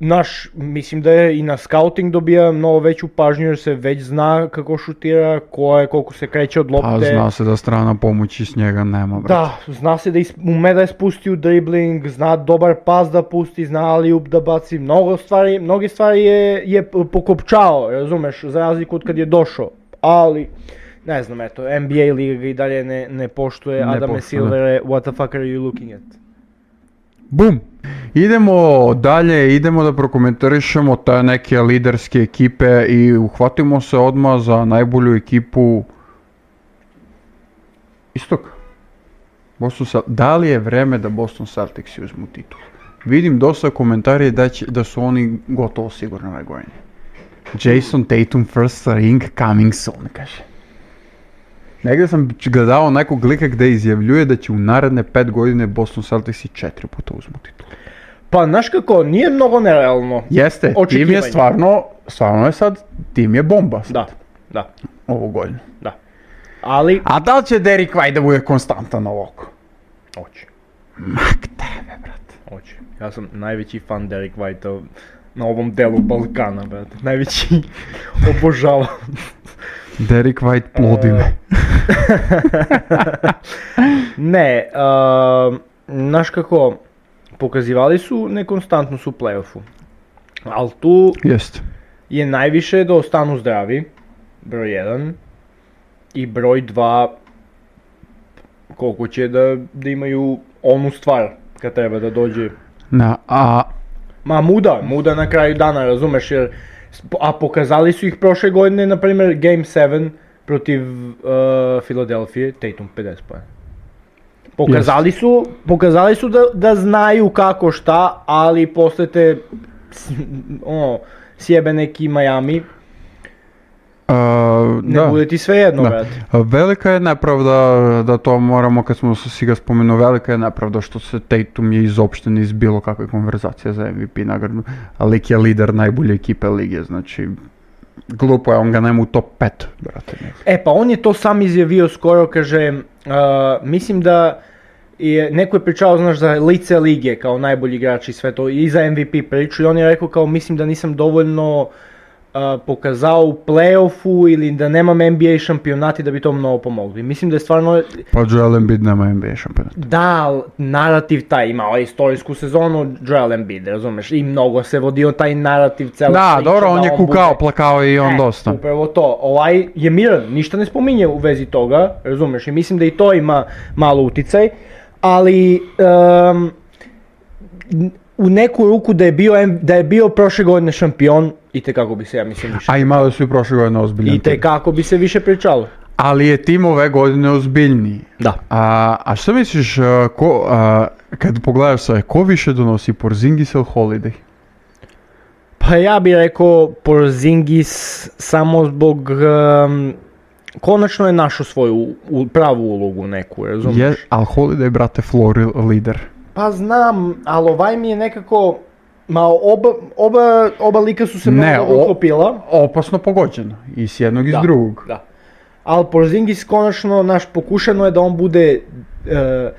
Naš, mislim da je i na scouting dobija mnogo veću pažnju jer se već zna kako šutira, ko je, koliko se kreće od lopte.
A Pa, zna se da strana pomoći s njega nema, brate.
Da, zna se da is, ume da je spusti u dribling, zna dobar pas da pusti, zna ali da baci, mnogo stvari, mnoge stvari je, je pokopčao, razumeš, za razliku od kad je došao, ali ne znam, eto, NBA liga ga i dalje ne, ne poštuje,
Ne
Adame
poštuje.
Silvere, what the fuck are you looking at?
Bum! Idemo dalje, idemo da prokomentarišemo te neke liderske ekipe i uhvatimo se odmah za najbolju ekipu Istoka. Boston Cel- da li je vreme da Boston Celtics uzmu titul? Vidim dosta komentarije da, će, da su oni gotovo sigurno ove godine. Jason Tatum first ring coming soon, kaže. Negde sam č- gledao nekog lika gde izjavljuje da će u naredne pet godine Boston Celtics i četiri puta uzmu titul.
Pa, znaš kako, nije mnogo nerealno.
Jeste, tim
Očekivanje.
je stvarno, stvarno je sad, tim je bomba sad,
Da, da,
ovu godinu.
da. Ali,
A da li će Derek White da bude konstantan ovako?
hoće,
Mak tebe, brate.
hoće. Ja sam najveći fan Derek White-a na ovom delu Balkana, brate. Najveći obožavam.
Derek White plodi me.
Ne, ehm, znaš kako, pokazivali su nekonstantno su u playoffu. Ali tu
Jeste.
je najviše da ostanu zdravi, broj 1. I broj 2, koliko će da, da imaju onu stvar kad treba da dođe.
Na, a
Ma muda, muda na kraju dana, razumeš, jer, sp- a pokazali su ih prošle godine, na primjer, Game 7 protiv uh, Filadelfije, Tatum 50 poena. Pokazali su, pokazali su da, da znaju kako šta, ali posle te s- ono, sjebe neki Miami,
a,
ne
e, da.
bude ti svejedno,
Da.
brate.
A Velika je nepravda, da to moramo, kad smo se si ga spomenuo, velika je nepravda što se Tatum je izopšten iz bilo kakve konverzacije za MVP nagradu. A lik je lider najbolje ekipe lige, znači glupo je, on ga nema u top 5, brate.
E pa on je to sam izjavio skoro, kaže, a, mislim da je, neko je pričao, znaš, za lice lige kao najbolji igrač i sve to, i za MVP priču i on je rekao kao, mislim da nisam dovoljno a, pokazao u playoffu ili da nemam NBA šampionati da bi to mnogo pomogli. Mislim da je stvarno,
Pa Joel Embiid nema NBA šampionat.
da, al narativ taj imao je istorijsku sezonu Joel Embiid, razumeš, i mnogo se vodio taj narativ celo
Da, dobro, on je kukao, plakao i on
E,
dosta.
Upravo to. Ovaj je miran, ništa ne spominje u vezi toga, razumeš? I mislim da i to ima malo uticaj, ali em, n- u neku ruku da je bio, em- da je bio prošle godine šampion, i kako bi se ja mislim više.
A imali su i prošle godine ozbiljan
I kako bi se više pričalo.
Ali je tim ove godine ozbiljniji.
Da.
A, a što misliš, a, ko, a, kad pogledaš sve, ko više donosi Porzingis ili Holiday?
Pa ja bih rekao Porzingis samo zbog... em, konačno je našao svoju u- pravu ulogu neku, razumiješ?
Je, ali Holiday, brate, floor lider.
Pa znam, ali ovaj mi je nekako... Ma oba, oba, oba lika su se
Ne,
malo
o-
uklopila.
Opasno pogođeno. I s jednog i s drugog.
Da. Ali Porzingis konačno, naš, pokušano je da on bude e,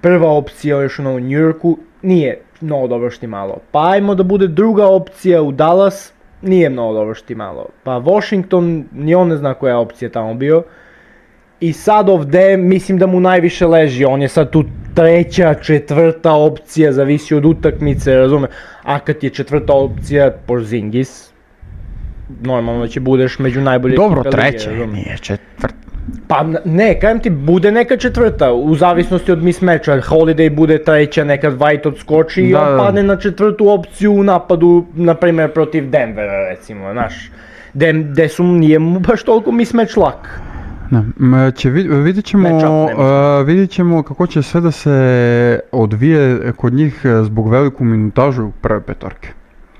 prva opcija još ono u New Yorku, nije mnogo dobro što malo. Pa ajmo da bude druga opcija u Dallas, nije mnogo dobro što malo. Pa Washington, ni on ne zna koja je opcija tamo bio. I sad ovde mislim da mu najviše leži, on je sad tu treća, četvrta opcija, zavisi od utakmice, razume. A kad je četvrta opcija Porzingis, normalno će budeš među najboljim.
Dobro, treće, nije četvrt.
Pa n- ne, kažem ti, bude neka četvrta, u zavisnosti od mismeča. Holiday bude treća, nekad White odskoči i
Da,
on
da.
padne na četvrtu opciju u napadu, na primjer protiv Denvera recimo, znaš. Dem, de su, nije mu baš toliko mismeč lak.
Ne, m, će vid, vidjet, ćemo,
Matchup, ne mislim.
e, vidjet ćemo kako će sve da se odvije kod njih e, zbog veliku minutažu prve petorke.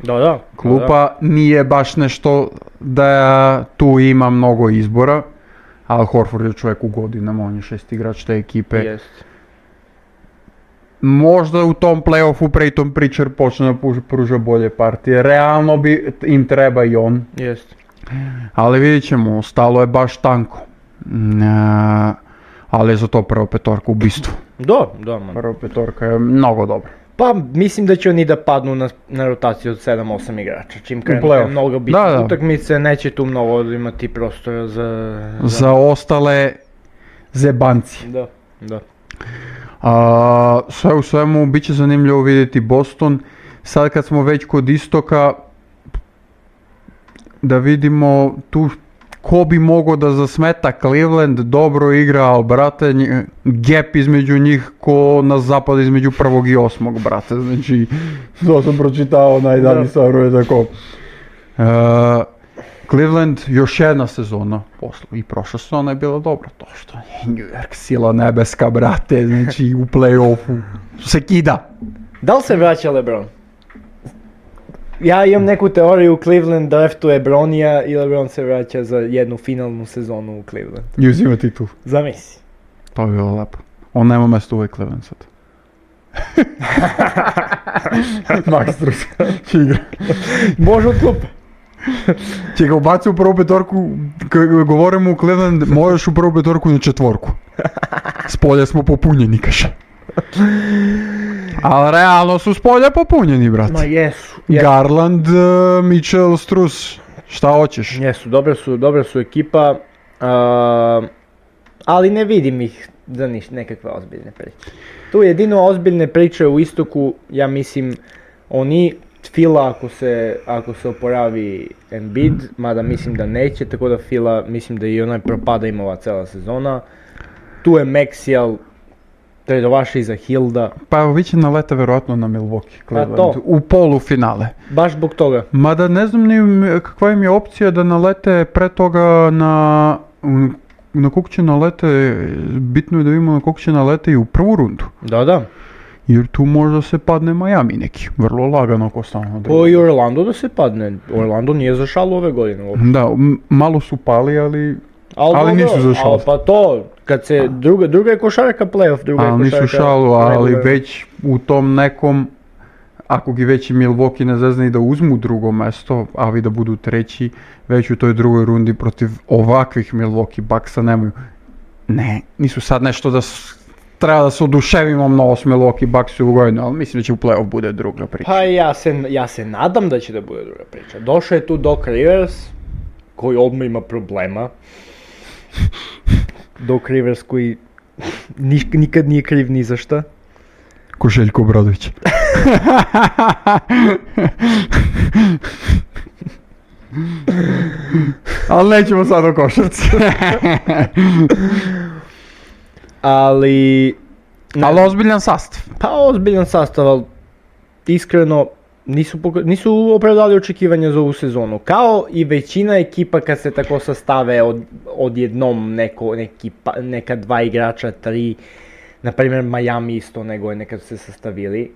Da, da.
Klupa nije baš nešto da tu ima mnogo izbora, ali Horford je čovjek u godinama, on je šest igrač te ekipe.
Jest.
Možda u tom playoffu Preyton Pritchard počne da puž- pruža bolje partije. Realno bi, im treba i on,
Jest.
ali vidjet ćemo, stalo je baš tanko. Mm, e, ali je za to prva petorka ubistvo.
Da, da, man.
Prva petorka je mnogo dobra.
Pa mislim da će oni da padnu na, na rotaciju od 7-8 igrača. Čim krenu
playoff.
te mnogo bitne
Da, da.
utakmice, neće tu mnogo imati prostora za...
Za ostale zebanci.
Da, da.
A, sve u svemu, bit će zanimljivo vidjeti Boston. Sad kad smo već kod istoka, da vidimo tu ko bi mogao da zasmeta Cleveland, dobro igra, ali brate, nje- gap između njih ko na zapad između prvog i osmog, brate, znači, to sam pročitao najdalji
Da.
stvaru je tako. E, Cleveland još jedna sezona posle i prošla sezona je bila dobra, to što je New York sila nebeska, brate, znači u play-offu se kida.
Da li se vraća LeBron? Ja imam neku teoriju Cleveland draftuje Bronija i LeBron se vraća za jednu finalnu sezonu u Cleveland.
I uzima titul.
Zamisli.
To bi bilo Pa lepo. On nema mjesto u Cleveland sad. Max Strus će igra.
Može od klupe.
Će ga ubaci u prvu petorku, k- govorimo u Cleveland, možeš u prvu petorku i na četvorku. S polja smo popunjeni, kaže. Ali realno su s polja popunjeni,
Ma
brate.
jesu. Jesu,
Garland, eh, Mitchell, Strus, šta hoćeš?
jesu dobra su, dobra su ekipa. a, ali ne vidim ih za niš, nekakve ozbiljne priče. Tu jedino ozbiljne priče u istoku, ja mislim, oni Fila ako se, ako se oporavi Embiid, mada mislim da neće, tako da Fila mislim da i onaj propada im ova cela sezona. Tu je Maxijal, Tredovaši za Hilda,
Pa evo, vi će na leta verovatno na Milwaukee, Cleveland,
Pa to.
u polufinale.
baš zbog toga.
Mada ne znam ni m- kakva im je opcija da nalete pre toga na... m, Na kog će nalete, bitno je da vidimo na kog će nalete i u prvu rundu.
Da, da.
Jer tu možda se padne Miami neki, vrlo lagano ako stanu.
Po i Orlando da se padne. Orlando nije zašalo ove godine uopšte.
Da, m- malo su pali, ali, Ali
dobro,
nisu za šal.
ali Pa to, kad se druga, druga je košarka playoff, druga je
ali
košarka...
nisu šalu, ali
regularna.
već u tom nekom, ako gi već i Milwaukee ne zazna i da uzmu drugo mesto, a vi da budu treći, već u toj drugoj rundi protiv ovakvih Milwaukee Bucksa nemaju. Ne, nisu sad nešto da s- treba da se oduševimo mnogo s Milwaukee Bucksu u godinu, ali mislim da će u playoff bude druga priča.
Pa ja se, ja se nadam da će da bude druga priča. Došao je tu Doc Rivers, koji odmah ima problema. Doc Rivers koji ni- nikad nije kriv ni za šta.
Ko Željko Obradović. Ali nećemo sad o košarci.
Ali...
Ali ozbiljan sastav.
Pa ozbiljan sastav, ali iskreno nisu, poka- nisu opravdali očekivanja za ovu sezonu. Kao i većina ekipa kad se tako sastave od, odjednom neko, neki pa- neka dva igrača, tri, na primjer Miami isto nego je nekad se sastavili.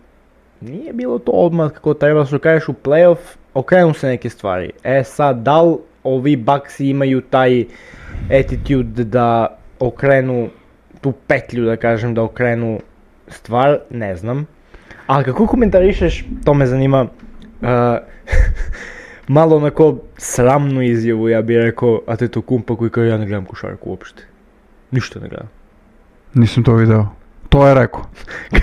Nije bilo to odmah kako treba, što kažeš u playoff, okrenu se neke stvari. E sad, da li ovi Baxi imaju taj attitude da okrenu tu petlju, da kažem, da okrenu stvar, ne znam. A kako komentarišeš, to me zanima, uh, malo onako sramnu izjavu, ja bih rekao, a te to kumpa koji kaže ja ne gledam košarku uopšte. Ništa ne gledam.
Nisam to video. To je rekao.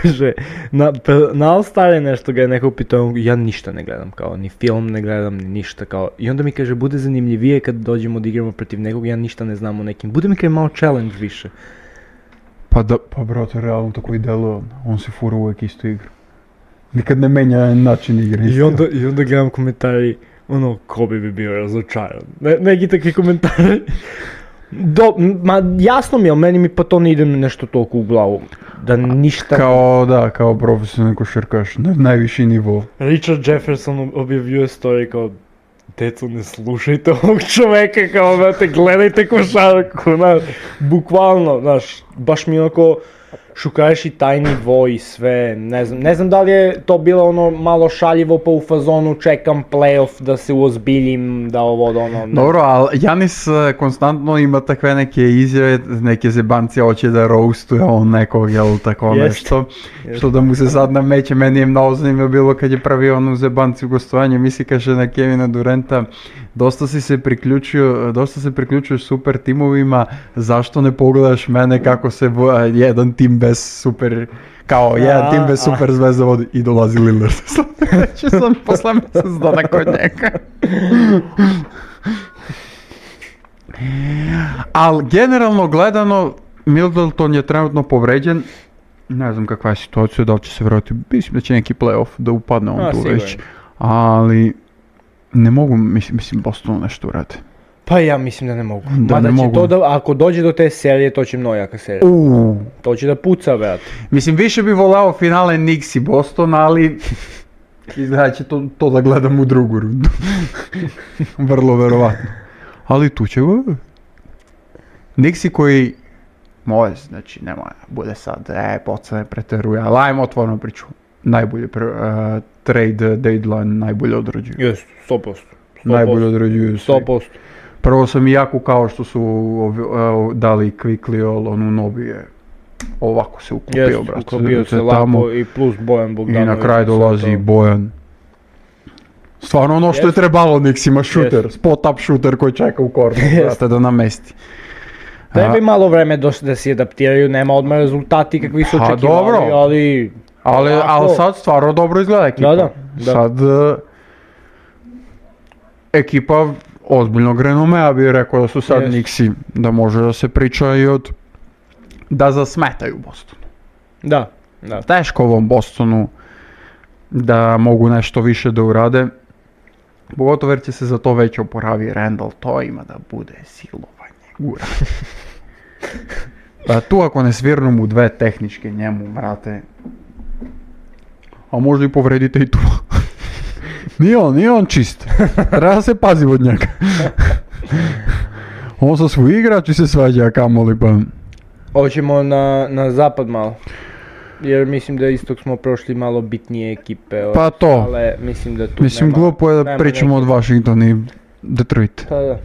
Kaže, na, pe- na All Star je nešto ga je neko pitao, ja ništa ne gledam, kao, ni film ne gledam, ni ništa, kao. I onda mi kaže, bude zanimljivije kad dođemo da igramo protiv nekog, ja ništa ne znam o nekim. Bude mi kaže malo challenge više.
Pa da, pa brate, realno tako i delo, on se fura uvijek istu igru. Nikad ne menja način igre.
I
isto.
onda, I onda gledam komentari, ono, ko bi bi bio razočaran. Ne, neki takvi komentari. Do, m- ma jasno mi je, ali meni mi pa to ne ide nešto toliko u glavu. Da ništa...
Kao, da, kao profesionalni košarkaš, na najviši nivo.
Richard Jefferson objavljuje story kao Deco, ne slušajte ovog čoveka, kao, brate, gledajte košarku, znaš, bukvalno, znaš, baš mi onako šukaješ i taj nivo i sve, ne znam, ne znam da li je to bilo ono malo šaljivo pa u fazonu čekam playoff da se uozbiljim, da ovo, da ono, ne
Dobro, ali Janis e, konstantno ima takve neke izjave, neke zebancije hoće da roastuje on nekog, jel tako
Jest.
nešto. Što da mu se sad nameće, meni je mnogo zanimljivo bilo kad je pravio onu zebanci u gostovanju, misli kaže na Kevina Durenta, dosta si se priključio, dosta se priključuješ super timovima, zašto ne pogledaš mene kako se vo- jedan tim bez super, kao jedan tim bez
a.
super zvezda vodi i dolazi Lillard. Znači sam posle mjesec dana kod njega. Ali generalno gledano, Middleton je trenutno povređen. Ne znam kakva je situacija, da li će se vratiti. Mislim da će neki playoff da upadne on
A,
tu
sigurno.
već. Ali ne mogu, mislim, mislim Bostonu nešto uradi.
Pa ja mislim da ne mogu.
Da,
Mada
ne
će
mogu.
to da, ako dođe do te serije, to će mnogo jaka serija.
Uuu.
To će da puca, brate.
Mislim, više bi voleo finale Knicks i Boston, ali izgleda će to, to da gledam u drugu rundu. Vrlo verovatno. Ali tu će... Nixi koji... Moj, znači, nemoj, bude sad, e, pocane preteruje, ali ajmo otvorno priču. Najbolje pre- e, trade deadline, najbolje odrađuju.
Jes, 100%. 100%.
Najbolje odrađuju svi.
100%.
Prvo sam i jako kao što su ovi- e, dali Quickly, ali onu novi je ovako se ukupio,
Jes,
brate. Znači,
ukopio se
Tamo-
lako i plus Bojan
i
Bogdanović.
na kraj
sve
dolazi
to.
Bojan. Stvarno ono što je
Jest.
trebalo Nixima šuter, spot up šuter koji čeka u kornu, brate, da namesti.
Treba im malo vreme dosta da se adaptiraju, nema odmah rezultati kakvi su
Pa,
očekivali,
dobro.
ali...
Ali,
Ako-
ali sad stvarno dobro izgleda ekipa.
Da, da, da.
Sad e, ekipa ozbiljnog renomea bi rekao da su sad
Jest.
Nixi, da može da se priča i od da zasmetaju Bostonu.
Da, da.
Teško ovom Bostonu da mogu nešto više da urade. Pogotovo jer će se za to već oporavi Randall, to ima da bude silovanje. Gura. Pa tu ako ne svirnu mu dve tehničke njemu, brate. A možda i povredite i tu. nije on, nije on čist. Treba da se pazi od njega. on sa svoj igrač i se svađa, a kamoli pa...
Hoćemo na, na zapad malo. Jer mislim da istok smo prošli malo bitnije ekipe. od-
Pa to.
Ale mislim da tu
Mislim,
nema-
glupo je da
nema
pričamo
neke-
od Washington i Detroit.
Pa da.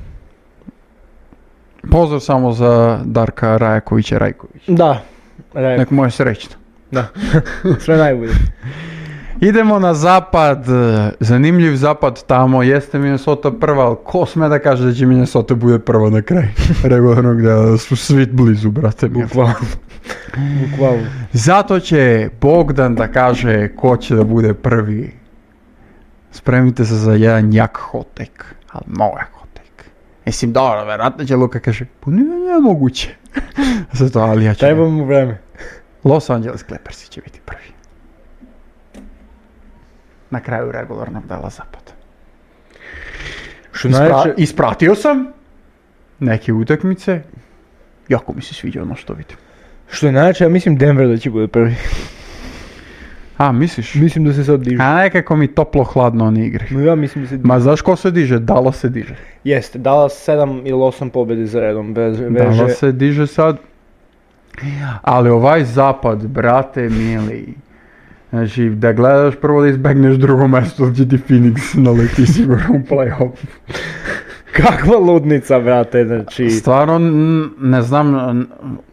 Pozdrav samo za Darka Rajakovića Rajkovića.
Da, Rajko,
Nek mu je srećno.
da. Sve najbolje.
Idemo na zapad, zanimljiv zapad tamo, jeste Minnesota prva, ali ko sme da kaže da će Minnesota bude prva na kraj regularnog da su svi blizu, brate. mili.
Bukvalno. Bukvalno.
Zato će Bogdan da kaže ko će da bude prvi. Spremite se za jedan jak hotek, ali mnogo jak hotek. Mislim, dobro, verovatno će Luka kaže, pa nije moguće. Zato, ali ja ću...
Treba mu vreme.
Los Angeles Clippers će biti prvi. Na kraju regularnog dela zapada.
Što
Ispra- ispratio sam neke utakmice. Jako mi se sviđa ono što vidim.
Što je najjače, ja mislim Denver da će bude prvi.
A, misliš?
Mislim da se sad diže.
A nekako mi toplo hladno oni igri.
No ja mislim da se diže.
Ma znaš ko se diže? Dala se diže.
Jeste, dala 7 ili 8 pobjede za redom. Bez,
Dala
veže,
se diže sad. Ali ovaj zapad, brate mili. Znači, da gledaš prvo da izbegneš drugo mjesto, gdje ti Phoenix naleti sigurno u playoff.
Kakva ludnica, brate, znači...
Stvarno, n- ne znam, n-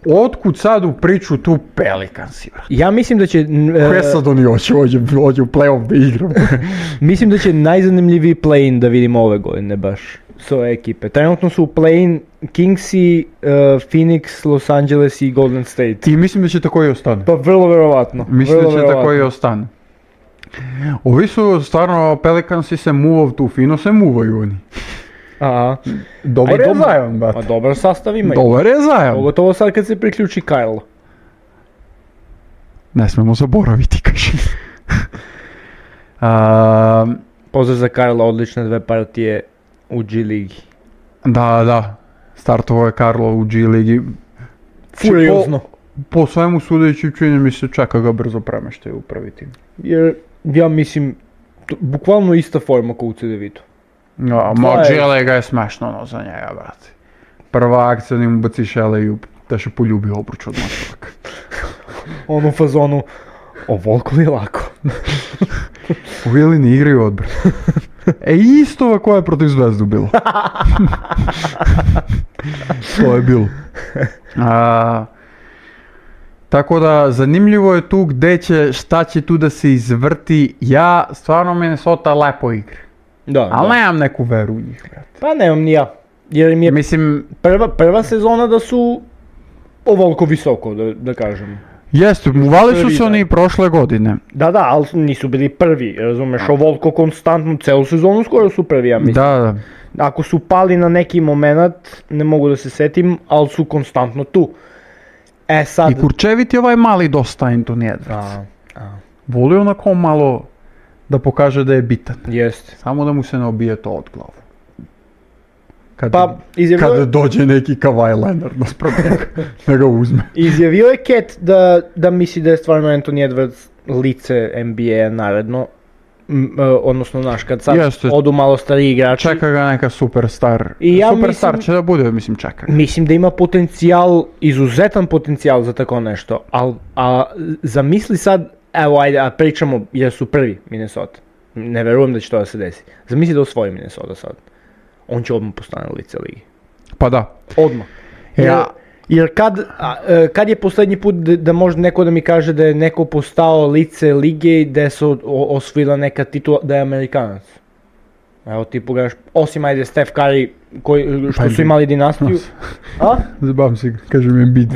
otkud sad u priču tu Pelikansi, brate.
Ja mislim da će... n- e,
Koje sad oni hoće, hoće, hoće u playoff da igram.
Mislim da će najzanimljiviji play-in da vidimo ove godine baš s ove ekipe. Trenutno su u play-in Kingsi, e, Phoenix, Los Angeles i Golden State.
I mislim da će tako i ostane.
Pa vrlo verovatno.
Mislim da
vrlo
će tako i
verovatno.
ostane. Ovi su stvarno Pelikansi se muvov tu fino, se muvaju oni.
Aha.
Dobar
A i
je
dobro-
Zion,
Pa
brate.
dobar sastav imaju.
Dobar je Zion.
Pogotovo sad kad se priključi Kyle.
Ne smemo zaboraviti, kaži. A,
Pozdrav za Kyle, odlične dve partije u G ligi.
Znači, da, da. Startovo je Karlo u G ligi.
Furiozno.
Po svemu sudeći čini mi se čeka ga brzo premeštaj u prvi tim.
Jer ja mislim, t- bukvalno ista forma kao u CDV-tu.
Ja,
To
ma
je-
G ga je smešno ono za njega, brate. Prva akcija njemu baciš LA da še poljubi obruč od mačaka.
Ono u fazonu, ovoliko li je lako.
Povijeli ne igraju odbor. E isto ova koja je protiv Zvezdu bilo. to je bilo. A, tako da zanimljivo je tu gde će, šta će tu da se izvrti. Ja stvarno Minnesota lepo igra.
Da,
Ali
da.
nemam neku veru u njih. brate.
Pa nemam ni ja. Jer mi je
Mislim,
prva, prva sezona da su ovoliko visoko, da, da kažem.
jeste, uvali su se
Florida.
oni i prošle godine.
Da, da, ali nisu bili prvi, razumeš, ovoliko konstantno, celu sezonu skoro su prvi, ja mislim.
Da, da.
Ako su pali na neki moment, ne mogu da se setim, ali su konstantno tu. E sad...
I kurčeviti ovaj mali dosta Anthony Edwards.
A,
Voli onako malo da pokaže da je bitan.
jeste.
Samo da mu se ne obije to od glavu. Kad,
Pa, izjavio,
kad dođe neki Kawhi Leonard nas njega, da ga uzme.
izjavio je Cat da, da misli da je stvarno Anthony Edwards lice NBA naredno. M, e, odnosno, znaš, kad sad
Jeste.
odu malo stariji igrači.
Čeka ga neka superstar.
I ja
superstar
mislim-
će da bude, mislim, čeka. ga.
Mislim da ima potencijal, izuzetan potencijal za tako nešto, ali a, zamisli sad, evo ajde, a pričamo jer su prvi Minnesota. Ne verujem da će to da se desi. Zamisli da osvoji Minnesota sad. On će odmah postane lice ligi.
Pa da.
Odmah. Jer,
Ja-
jer kad, a, e, kad je posljednji put da, da može neko da mi kaže da je neko postao lice lige i da se o- o- osvojila neka titula, da je Amerikanac? Evo ti pogledaš, osim ajde Steph Curry koji, što
Pa
su
bi-
imali dinastiju. A?
Zabavim se, kažem je bid.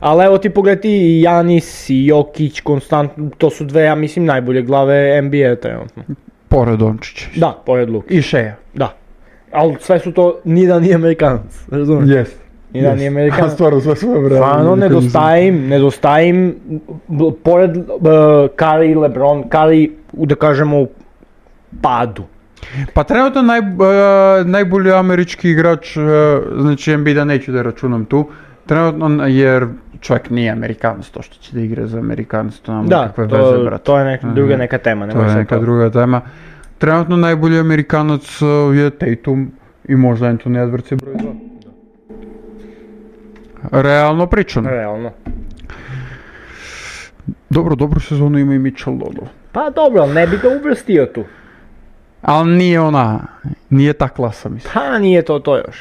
Ali evo ti pogledaj ti i Janis i Jokić, konstantno, to su dve, ja mislim, najbolje glave NBA trenutno.
Pored Dončića.
Da, pored Luka,
I Šeja.
da. Ali sve su to, nijedan nije Amerikanac, razumiješ?
Yes.
Nijedan nije
A
Amerikanac.
stvarno sve svoje vreme.
Stvarno nedostaje im, nedostaje im, b- pored uh, Curry i Lebron, Curry, u- da kažemo, u padu.
Pa trenutno naj, e, najbolji američki igrač, e, znači Embiida neću da računam tu, trenutno n- jer čovjek nije Amerikanac, to što će da igra za Amerikanac, to nam
Da,
nikakve
to,
veze, brate.
to je neka, druga
Mhm.
neka tema,
To
nemoj
je
sad
neka
to.
druga tema. Trenutno najbolji Amerikanac e, je Tatum i možda Anthony Edwards je broj 2. Realno pričano.
Realno.
Dobro, dobru sezonu ima i Mitchell Lolo.
Pa dobro, ali ne bi ga uvrstio tu.
Ali nije ona, nije ta klasa mislim.
Pa nije to to još.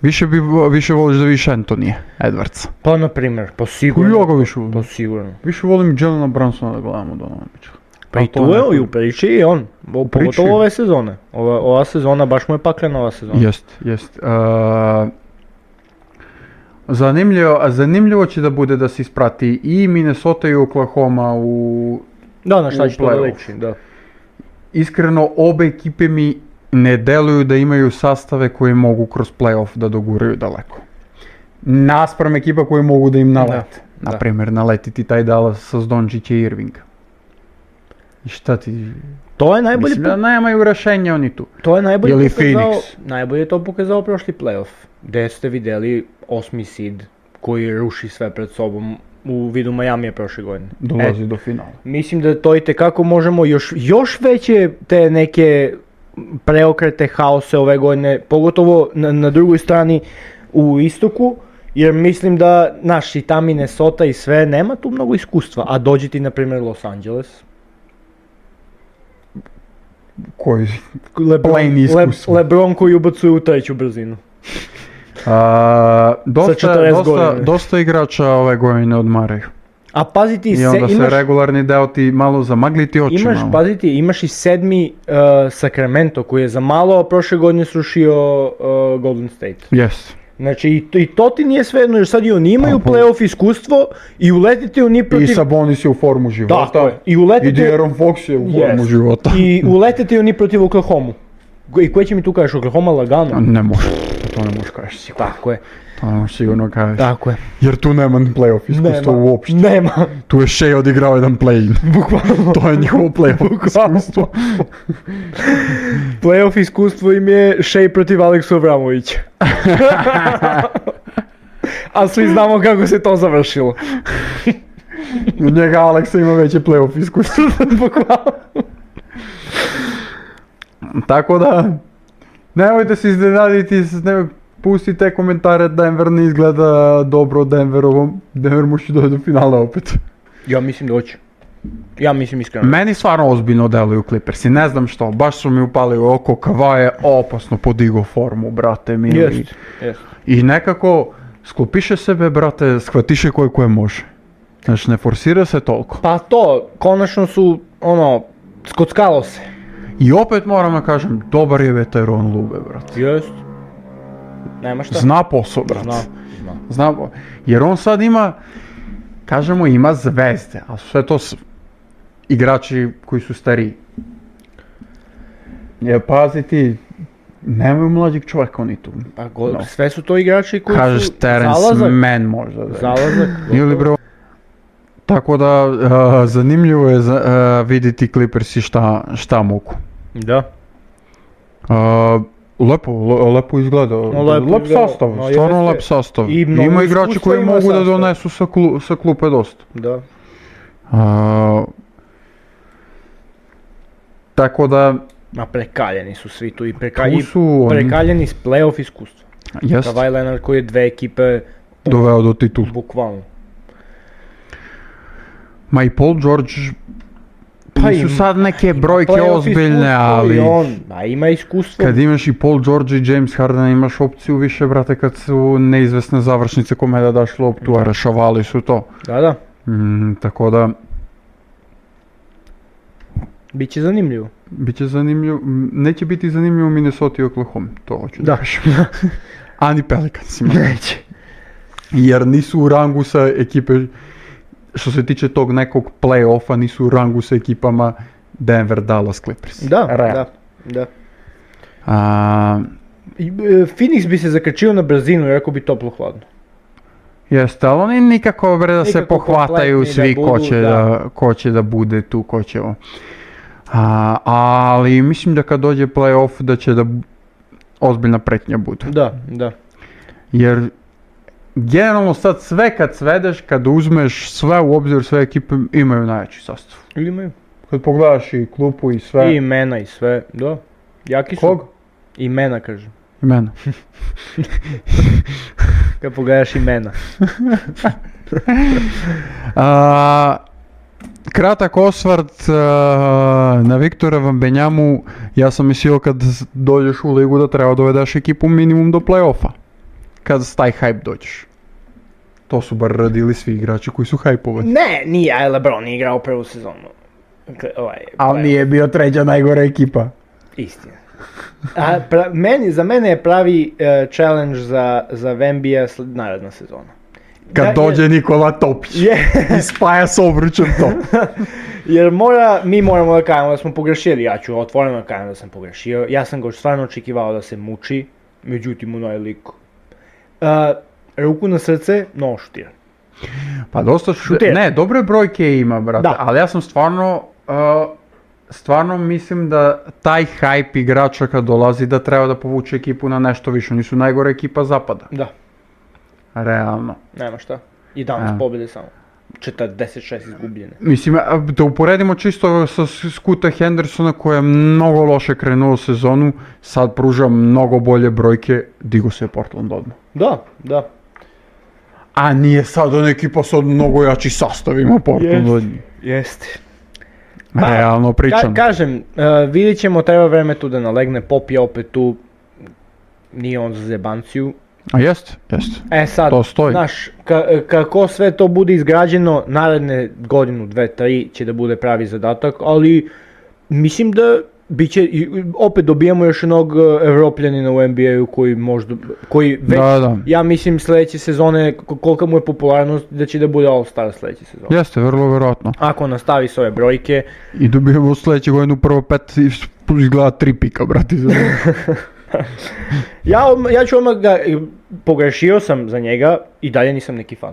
Više, bi, više voliš da vidiš Antonija Edwardsa.
Pa na primjer, pa sigurno.
Ja ga više volim.
Pa sigurno.
Više volim Jelena Brunsona da gledam od Donovana Mitchella.
Pa i
to
tu je
neko-
i u priči i on. O,
priči.
pogotovo ove sezone. Ova, ova sezona, baš mu je paklena ova sezona.
Jest, jest. Uh, zanimljivo, a zanimljivo će da bude da se isprati i Minnesota i Oklahoma u...
Da, na šta
U
će to da
playoff.
liči, da.
Iskreno, obe ekipe mi ne deluju da imaju sastave koje mogu kroz playoff da doguraju daleko. Naspram ekipa koje mogu da im nalete.
da.
Na primjer, naletiti taj Dallas sa Zdončića i Irvinga. I šta ti...
To je najbolje,
Mislim da nemaju rešenja oni tu.
to je najbolje
Ili
pokazao,
Phoenix.
najbolje je to pokazao prošli playoff. Gde ste vidjeli osmi seed koji ruši sve pred sobom u vidu Majamija prošle godine.
Dolazi do finala.
Mislim da to i tekako možemo još, još veće te neke preokrete, haose ove godine, pogotovo na, na drugoj strani u istoku, jer mislim da naš i ta Minnesota i sve nema tu mnogo iskustva, a dođe ti na primjer Los Angeles.
Koji?
Lebron,
Plain iskustvo.
Le- Lebron koji ubacuje u treću brzinu.
A, dosta,
40
dosta,
godina.
dosta igrača ove godine odmaraju.
A pazi ti,
I
se,
onda se
imaš,
regularni deo ti malo zamagli ti oči
imaš,
malo.
pazi ti, imaš i sedmi uh, Sacramento koji je za malo prošle godine srušio uh, Golden State.
Yes.
Znači i to, i to ti nije svejedno jer sad i oni imaju
Pa, pa.
playoff iskustvo i uletite u ni
I
protiv...
Sabonis je u formu života.
Tako je. I
I
uletite,
De'Aaron Fox je u
Yes.
formu života.
i uletite u ni protiv Oklahoma. I koje će mi tu kažeš, Oklahoma
A
lagano?
Ne može. To ne možeš kažeš sigurno.
Tako je,
To ne možeš sigurno kažeš.
tako je.
Jer tu nema ni playoff iskustva
Nema,
uopšte.
nema,
Tu je Shea odigrao jedan play-in.
bukvalno.
To je njihovo playoff iskustvo.
Playoff iskustvo im je Shea protiv Aleksu Avramovića. A svi znamo kako se to završilo.
Od njega Aleksa ima veće playoff iskustvo.
Bukvalno.
Tako da, nemojte se iznenaditi, s- ne, pustite komentare Denver ne izgleda dobro Denverovom. Denver može doći do finala opet.
Ja mislim da hoće. Ja mislim iskreno.
Meni stvarno ozbiljno deluju Clippersi, ne znam što, baš su mi upali u oko, Kava je opasno podigao formu, brate mi.
Jest, jest.
I nekako, sklopiše sebe, brate, shvatiše koliko je može. Znači, ne forsira se toliko.
Pa to, konačno su, ono, skockalo se.
I opet moram da kažem, dobar je veteran Lube, brate.
Jest. Nema šta.
Zna posao, brate.
Zna, zna.
Zna, po- jer on sad ima, kažemo, ima zvezde, a sve to s- igrači koji su stariji. Jer pazi ti, nemaju mlađeg čovjeka oni tu.
Pa go- sve su to igrači koji
Kažeš
su
Terence
zalazak.
Mann možda da je.
Zalazak.
Ili bro. Tako da, a, zanimljivo je za- a, vidjeti Clippersi šta, šta mogu.
Da.
A, lepo, le- lepo izgleda.
lepo
lep
izgleda.
sastav,
Ma,
stvarno
jeste.
lep sastav.
I mnogo
ima igrači
iskustva
koji
ima
mogu da
sastav.
donesu sa, klu- sa klupe dosta.
Da.
A, tako da,
Ma prekaljeni su svi tu i, preka,
tu
i
su oni
prekaljeni s playoff iskustva.
jest,
Kawhi Leonard koji je dve ekipe
doveo do titula.
bukvalno.
Ma i Paul George
Pa
nisu
i-
sad neke brojke
Playoff
ozbiljne,
iskustvo i ono
ali
on, ma ima iskustvo.
kad imaš i Paul George i James Harden imaš opciju više, brate, kad su neizvesne završnice kome da daš loptu, a rešavali su to.
Da, da.
Mm, tako da,
Biće zanimljivo.
bit će zanimljivo, m, neće biti zanimljivo u Minnesota i Oklahoma, to hoću da
Da.
kažem. Ani Pelicansima. Neće. Jer nisu u rangu sa ekipe, što se tiče tog nekog play-offa, nisu u rangu sa ekipama Denver, Dallas, Clippers.
Da,
Realno.
da, da.
A,
I, e, Phoenix bi se zakrčio na brzinu, iako bi toplo hladno.
jeste, ali oni nikako bre da se
Nikako
pohvataju
kompletni da
svi ko,
budu,
će
da.
da, ko će da bude tu, ko će ovo. A, ali mislim da kad dođe play-off da će da bu- ozbiljna pretnja budu.
Da, da.
Jer generalno sad sve kad svedeš, kad uzmeš sve u obzir, sve ekipe imaju najjači sastav.
Ili imaju?
Kad pogledaš i klupu i sve.
I imena i sve, da. Jaki su.
Kog?
Imena, kažem.
Imena.
Kad pogledaš imena.
A, kratak osvrt a, na Viktora Vambenjamu. Ja sam mislio kad s- dođeš u ligu da treba dovedeš ekipu minimum do playoffa. Kad s taj hype dođeš. To su bar radili svi igrači koji su hajpovani.
Ne, nije, aj Lebron je igrao prvu sezonu. Kle- Ovaj,
Ali nije bio treća najgora ekipa.
Istina. A, pra- meni, za mene je pravi e, challenge za, za Vembija sl- naredna sezona.
Kad
Da, je-
dođe Nikola Topić.
Je,
I spaja s obručem to.
jer mora, mi moramo da kažemo da smo pogrešili, ja ću otvoreno da kažem da sam pogrešio, ja sam ga stvarno očekivao da se muči, međutim ono je lik. E, ruku na srce, no štira.
Pa dosta šuter.
Šuter.
Ne, dobre brojke ima, brate.
Da.
Ali ja sam stvarno... uh, stvarno mislim da taj hype igrača kad dolazi da treba da povuče ekipu na nešto više. Oni su najgore ekipa zapada.
Da,
Realno.
nema šta. I danas
A.
pobjede samo. 46 izgubljene.
Mislim, a, da uporedimo čisto sa Skuta Hendersona koji je mnogo loše krenuo sezonu, sad pruža mnogo bolje brojke, digo se je Portland odmah.
Da, da.
A nije sad on ekipa sa mnogo jači sastavima Portland od njih.
Jeste.
Realno pričam.
Ka- kažem, e, vidjet ćemo, treba vreme tu da nalegne, Pop je opet tu, nije on za zebanciju.
A jest, jest.
E sad,
To stoji.
znaš, ka- e, kako sve to bude izgrađeno, naredne godinu, dve, tri će da bude pravi zadatak, ali mislim da biće, i- i opet dobijamo još jednog e, evropljanina u NBA-u koji možda, koji već,
Da, da.
ja mislim sljedeće sezone, k- kolika mu je popularnost, da će da bude All-Star sljedeće sezone.
Jeste, vrlo verovatno.
Ako nastavi s ove brojke,
I dobijemo sljedeće godine prvo pet i izgleda tri pika, brati. Za
Ja, odm- ja ću odmah da, pogrešio sam za njega i dalje nisam neki fan.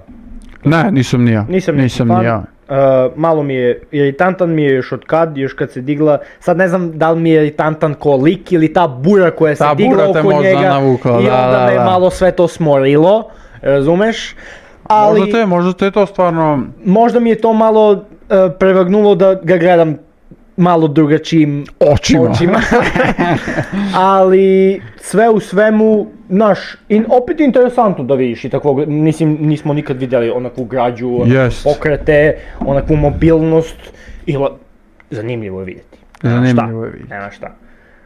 ne, nisam ni ja.
Nisam neki
nisam
fan.
ni ja.
E, malo mi je, iritantan mi je još od kad, još kad se digla, sad ne znam da li mi je iritantan ko lik ili ta bura koja se
Ta
digla
bura te
oko
možda
njega
navukla,
i
da,
onda
da,
me
da.
malo sve to smorilo, razumeš? Ali
Možda te, možda te to stvarno...
možda mi je to malo e, prevagnulo da ga gledam malo drugačijim
Očima.
očima. Ali sve u svemu, naš, in, opet je interesantno da vidiš i takvog, mislim, nismo nikad vidjeli onakvu građu, onakve
Jest.
pokrete, onakvu mobilnost i la- zanimljivo je vidjeti. Nema šta,
Zanimljivo je vidjeti.
Nema šta.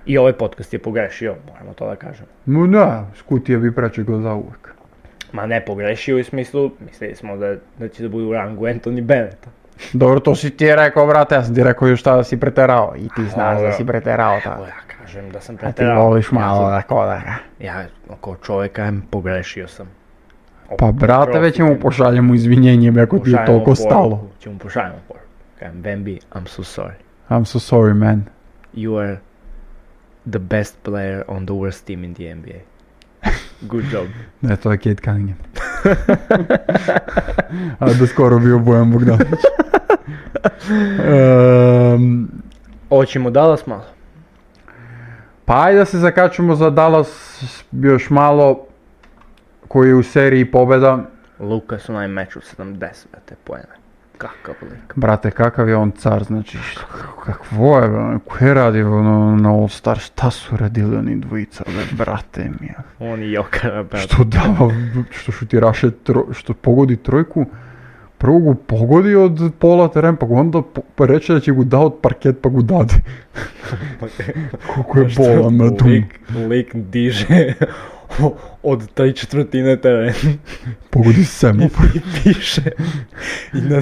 I ovaj podcast je pogrešio, moramo to da kažemo.
No da, skutija bi preče gleda uvek.
Ma ne pogrešio u smislu, mislili smo da, da će da bude u rangu Anthony Bennetta.
Dobro, to si ti rekao, brate, ja sam ti rekao još šta da si preterao. I ti znaš
Dobro.
da si preterao
Evo
tako.
ja kažem da sam
Ti
preterao.
voliš malo tako da ga.
Ja, oko čovjeka, em, pogrešio sam.
Pa brate, već mu
Oprostite.
pošaljemo izvinjenjem ako ti je
Pošaljemo
toliko
poruku,
stalo.
Ćemo pošaljemo poruku. Kažem, Bambi, I'm so sorry.
I'm so sorry, man.
You are the best player on the worst team in the NBA. Good job.
Ne, to je Kate Cunningham. A da skoro bio Bojan Bogdanović. Ehm,
Oćemo Dallas malo.
pa ajde da se zakačemo za Dallas još malo koji je u seriji pobeda.
Luka su onaj meč od 70 te pojene. Kakav lik.
Brate, kakav je on car, znači, šta- kakvo je, ono, ko je radio ono, na All Star, šta su radili oni dvojica, bre, brate mi je.
On je jokara, brate.
Što dava, što šutiraše, tro- što pogodi trojku, prvo go pogodi od pola teren, pa ga onda po- pa reče da će go da od parket, pa go dade. Koliko je bolan na tom.
Lik, lik diže od taj četvrtine terena
Pogodi semafor.
i piše i na,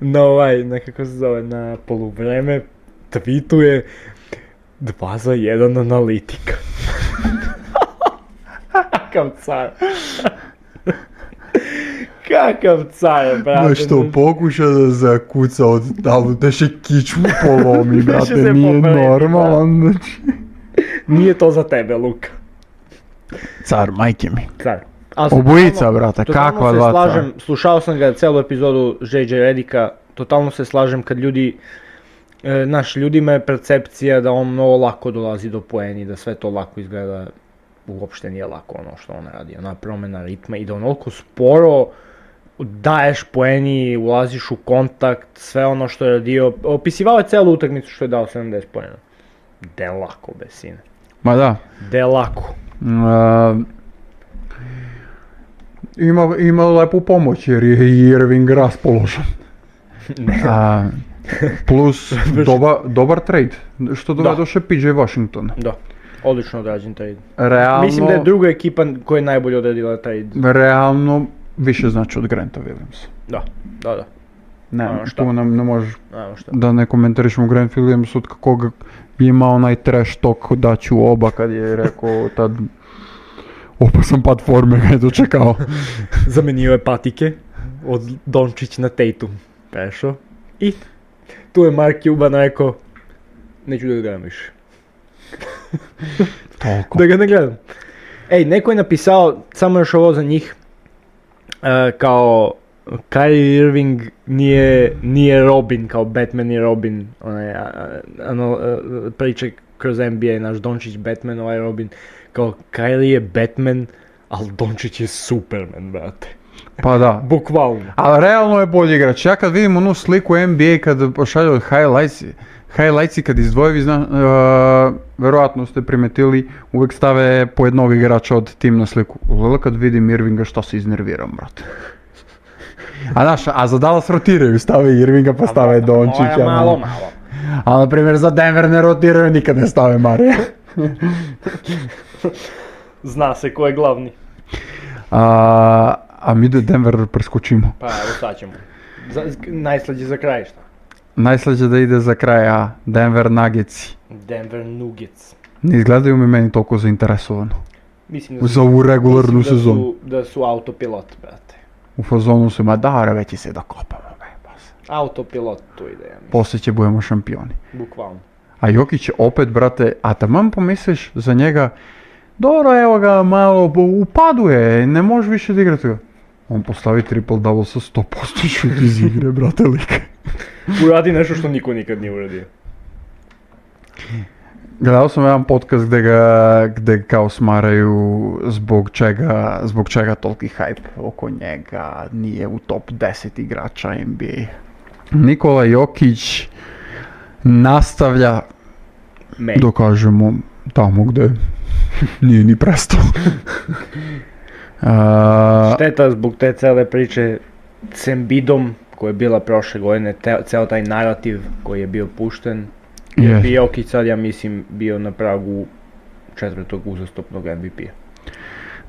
na ovaj, na kako se zove, na poluvreme tweetuje 2 za 1 analitika. Kakav car. Kakav car, brate.
Ma što pokuša da zakuca od tamo, da še kičmu polomi,
se
brate, nije
povredi, da.
normalan, znači.
Nije to za tebe, Luka.
Car, majke mi.
Car. Ali sam
Obojica,
totalno-
brate,
totalno
kakva
se
dva cara.
slažem, slušao sam ga celu epizodu JJ Redika, totalno se slažem kad ljudi, e, naš, ljudima je percepcija da on mnogo lako dolazi do poeni, da sve to lako izgleda, uopšte nije lako ono što on radi, ona promjena ritma i da onoliko sporo daješ poeni, ulaziš u kontakt, sve ono što je radio, opisivao je celu utakmicu što je dao 70 poena. De lako, be sine.
Ma da,
De lako.
Uh, ima, ima lepu pomoć jer je i Irving raspoložen. A, plus doba, dobar trade što dovedoše PJ Washington.
Da, odlično odrađen taj
Realno,
Mislim da je druga ekipa koja je najbolje odredila taj...
realno više znači od Granta Williamsa.
Da, da, da.
Ne,
A, šta?
tu nam ne možeš
Ajmo šta.
da ne komentarišemo Grant Williams od kakvog ima onaj trash talk da ću oba kad je rekao tad opasan pad forme ga je dočekao.
Zamenio je patike od Dončić na Tatum. Prešao. I tu je Mark Cuban rekao neću da ga gledam više.
Toliko.
Da ga ne gledam. Ej, neko je napisao, samo još ovo za njih, e, kao Kyrie Irving nije, nije Robin, kao Batman i Robin, onaj, a- a- ano, e, priče kroz NBA, naš Dončić Batman, ovaj Robin, kao Kyrie je Batman, ali Dončić je Superman, brate.
Pa da.
Bukvalno.
Ali realno je bolji igrač. Ja kad vidim onu sliku NBA kad pošalju highlights, highlights kad izdvoje, vi zna, e, vjerojatno ste primetili, uvijek stave po jednog igrača od tim na sliku. Lele kad vidim Irvinga šta se iznerviram, brate. A znaš, a za Dallas rotiraju, stave Irvinga pa stave Dončića. ono.
Moja malo, malo.
A na primjer za Denver ne rotiraju, nikad ne stave Marija.
Zna se ko je glavni.
A, a mi da Denver preskočimo.
Pa evo sad ćemo. Za, najslađe za kraj šta?
Najslađe da ide za kraj, a Denver Nuggets.
Denver Nuggets.
Ne izgledaju mi meni toliko zainteresovano.
Mislim da su,
Za ovu regularnu
mislim da
sezonu.
su, da su autopilot, brate.
U fazonu su, ma da, već će se da kopamo. be, pa se.
Autopilot tu ide, ja mislim.
Poslije će budemo šampioni.
Bukvalno.
A Jokić je opet, brate, a taman pomisliš za njega, dobro, evo ga, malo bo- upaduje, ne može više da igrati ga. On postavi triple double sa 100% šut iz igre, brate, like.
Uradi nešto što niko nikad nije uradio.
Gledao sam jedan podcast gdje ga, gde kao smaraju zbog čega, zbog čega toliki hype oko njega nije u top 10 igrača NBA. Nikola Jokić nastavlja
Me.
da kažemo tamo gdje nije ni prestao. A,
Šteta zbog te cele priče s Embidom koja je bila prošle godine, te, ceo taj narativ koji je bio pušten, je
je.
bi Jokić sad ja mislim bio na pragu četvrtog uzastopnog P-a. MVP-a.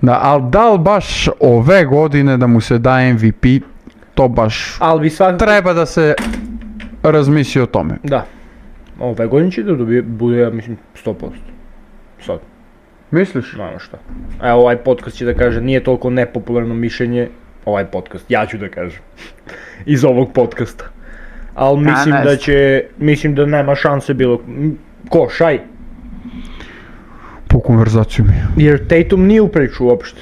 Da, ali da li baš ove godine da mu se da MVP, to baš
Ali bi svakako...
treba da se razmisli o tome.
Da. Ove godine će da dobije, bude, ja mislim, 100%. Sad,
Misliš?
nema šta. A ovaj podcast će da kaže, nije toliko nepopularno mišljenje, ovaj podcast, ja ću da kažem. Iz ovog podcasta. Ali mislim da
naravno.
će, mislim da nema šanse bilo, m, ko, šaj.
Po konverzaciju mi je.
Jer Tatum nije u priču uopšte.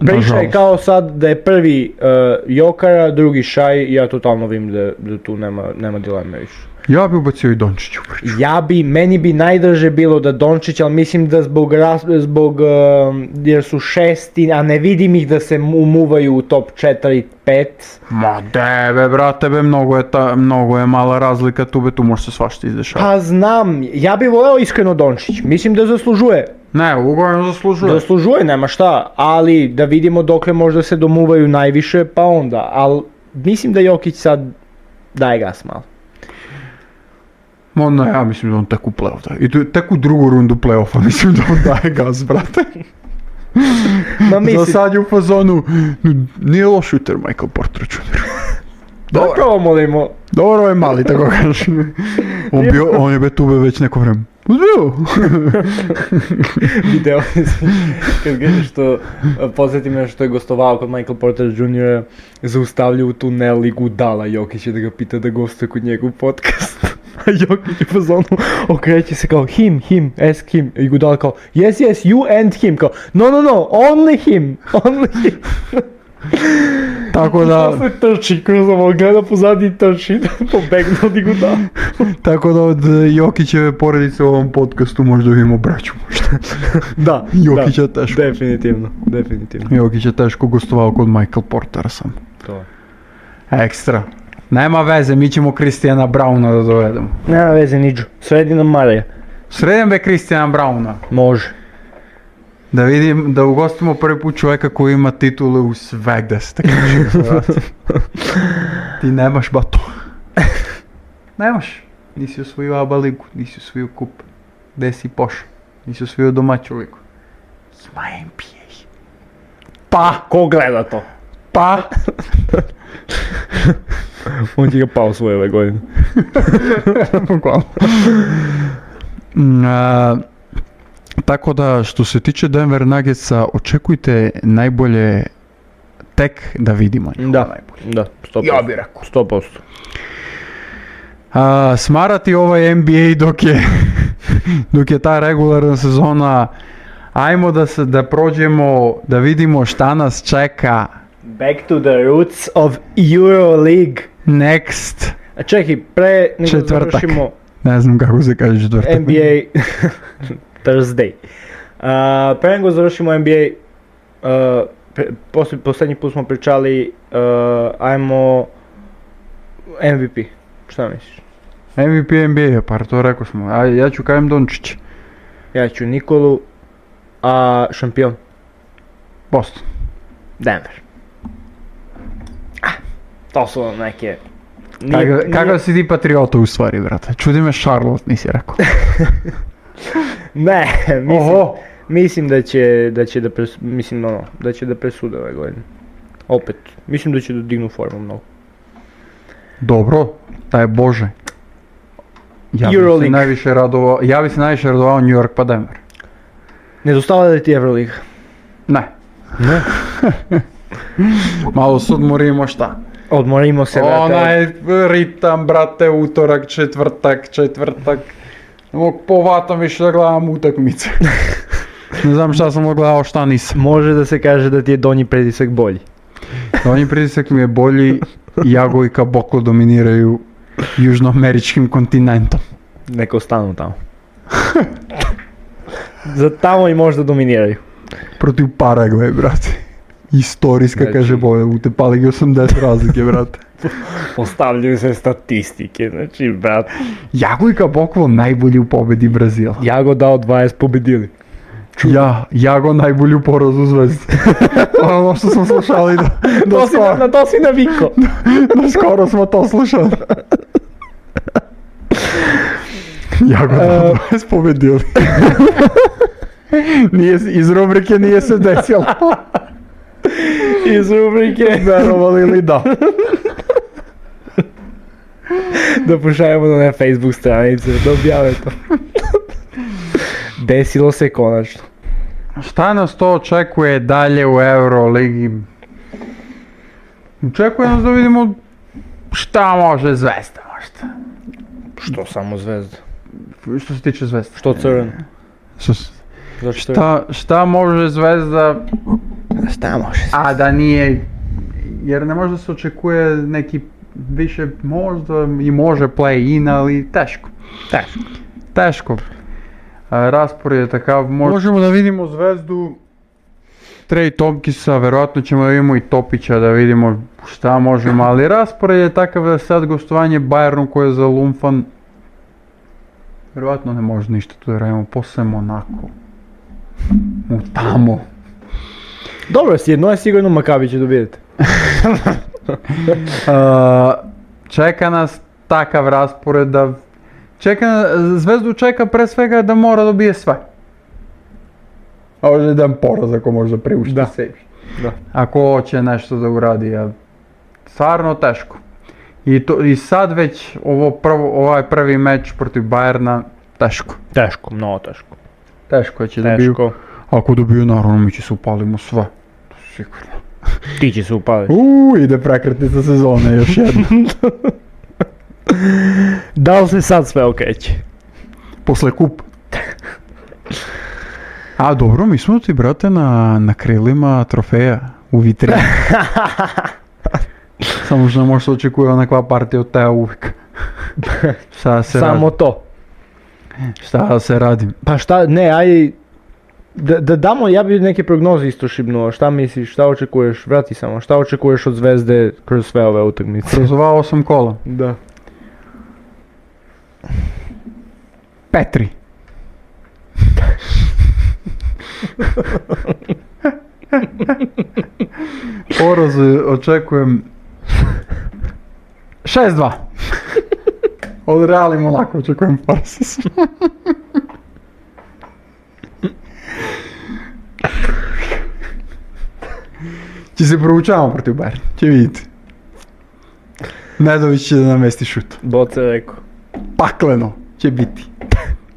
Priča je
Nažalost.
kao sad da je prvi uh, Jokara, drugi Šaj, ja totalno vidim da, da tu nema, nema dileme više.
Ja bi ubacio i Dončić u priču.
Ja bi, meni bi najdraže bilo da Dončić, ali mislim da zbog, ras, zbog um, jer su šesti, a ne vidim ih da se mu- umuvaju u top 4, 5.
Ma debe, brate, be, mnogo je, ta, mnogo je mala razlika tu, be, tu može se svašta izdešavati.
Pa znam, ja bi voleo iskreno Dončić, mislim da zaslužuje.
Ne, ugovorno zaslužuje.
Zaslužuje, nema šta, ali da vidimo dokle možda se domuvaju najviše, pa onda. Ali mislim da Jokić sad daje gas malo.
Ma ne, ja mislim da on tek u playoff da. I tu, tek u drugu rundu playoffa mislim da on daje gaz, brate.
Ma
Za
mislim,
sad je u fazonu, "N- nije loš šuter Michael Porter Jr.
da promolimo.
Dobro je mali, tako kažem. On, bio, on je be tu be već neko vreme. Uzbio!
video mislim, kad ga što posjeti me što je gostovao kod Michael Porter Jr. zaustavlja u tunel i gudala Jokića da ga pita da gostuje kod njega u podcast. A Jokić je fazonu okreće se kao him, him, ask him i gudala kao yes, yes, you and him kao no, no, no, only him, only him.
Tako da...
Posle trči kroz ovo, gleda pozadi i trči, pobegne od i gudala.
Tako da od e, Jokićeve porodice u ovom podcastu možda vidimo braću možda.
Da,
Jokića
da,
teško.
Definitivno, definitivno.
Jokić je teško gostovao kod Michael Portera sam.
To.
Ekstra. Nema veze, mi ćemo Kristijana Brauna da dovedemo.
Nema veze, Niđu, sredinom Marija.
Sreden be Kristijana Brauna.
Može.
Da vidim, da ugostimo prvi put čovjeka koji ima titule u svegda se tako kaže, brate. Ti nemaš bato. Nemaš. Nisi osvojio ABA ligu, nisi osvojio kup. Gde si pošao? Nisi osvojio domaću ligu. Ima NBA. Pa!
Ko gleda to?
Pa,
On će ga pao svoje ove godine.
bukvalno. Mm, a, tako da, što se tiče Denver Nuggetsa, očekujte najbolje tek da vidimo. njih.
Da, da, 100%. Ja bih rekao. 100%.
A, smarati ovaj NBA dok je, dok je ta regularna sezona, ajmo da, se, da prođemo, da vidimo šta nas čeka
Back to the roots of Euroleague.
next,
A čekaj, pre nego
Četvrtak.
završimo
ne znam kako se kaže
E.
četvrtak.
NBA Thursday. A, pre nego završimo NBA, a, pre- posl- poslednji put smo pričali, uh, ajmo MVP. Šta misliš?
MVP NBA, par to rekao smo. A ja ću kajem Dončić.
Ja ću Nikolu, a šampion
Boston.
Denver. Ah, to su vam neke... Nije-
Kakav,
nije-
kakav si ti patriota u stvari, brate? Čudi me Charlotte, nisi rekao.
Ne, mislim,
Oho!
mislim da će da će da pres, mislim ono, da će da presude ove godine. Opet, mislim da će da dignu formu mnogo.
Dobro, taj Bože. Ja bi se
Euroleague.
najviše radovao, ja bi se najviše radovao New York pa Denver.
Nedostala da ti Euroliga.
Ne.
Ne.
Malo se odmorimo šta.
Odmorimo se, brate.
Ona je ritam, brate, utorak, četvrtak, četvrtak. Ne mogu povatam više da gledam utakmice. ne znam šta sam gledao, šta nisam.
Može da se kaže da ti je donji predisak bolji.
Donji pritisak mi je bolji, Jago i Kaboko dominiraju južnoameričkim kontinentom.
Neka ostanu tamo. Za tamo i možda dominiraju.
Protiv Paragve, brate. Istorijska,
Znači-
kaže Boja, utepali ga 80 razlike, brate.
Postavljaju se statistike, znači brat.
Jago i Kaboko najbolji u pobedi Brazila.
Ja go dao 20, pobedili.
Ja, Jago najbolji u porazu zvezde. ono što smo slušali do, do
To si, na,
skoro.
na to si naviko.
No skoro smo to slušali. Ja ga
E.
danas pobedili. nije, se- iz rubrike nije se desilo.
Iz rubrike
Verovali ili
да.
da.
da pošaljemo na ne Facebook stranice, da objave to. Desilo se konačno.
Šta nas to očekuje dalje u Euroligi? Očekuje nas da vidimo šta može Zvezda možda.
Što samo zvezda?
Što se tiče Zvezda.
Što crveno?
Što se-
Zašto
šta, šta može Zvezda
Šta može?
A da nije, jer ne možda se očekuje neki više možda i može play-in, ali teško.
Teško.
Teško. A, Raspored je takav. mo- Možemo da vidimo zvezdu Trey Tompkisa, verovatno ćemo da vidimo i Topića da vidimo šta možemo, ali raspored je takav da sad gostovanje Bayernu koje je za Lumfan verovatno ne može ništa tu da radimo, posle Monako. U tamo.
Dobro, si jedno je sigurno Makabi će dobijete.
Uh, čeka nas takav raspored da... Čeka, zvezdu čeka pre svega da mora dobije sve. A ovdje jedan poraz ako može priušti
Da.
sebi.
Da.
Ako hoće nešto da uradi, a stvarno teško. I, to, i sad već ovo prvo, ovaj prvi meč protiv Bayerna, teško.
Teško, mnogo teško.
Teško će dobiju.
Teško.
Да.
Ako dobiju, naravno mi će se upalimo sve. Sigurno.
Ti će se upaliti.
Uuu, ide prekretnica sezone još jedna.
Da li se sad sve okreće?
Posle kupa. A dobro, mi smo ti, brate, na, na krilima trofeja u vitrini. Samo što ne može se očekuje onakva partija od teja uvijek. Šta da se
Samo
radim?
to.
Šta da se radim?
Pa šta, ne, aj... Da, da damo, ja bi neke prognoze isto šibnuo. Šta misliš, šta očekuješ, vrati samo, šta očekuješ od zvezde kroz sve ove utakmice?
Prozvao osam kola.
Da.
Petri. Poraz očekujem 6-2. Od Reali Monako očekujem poraz. Če se proučavamo protiv Bayern, će vidite. Nedović će da namesti šut
Bot se rekao.
pakleno će biti.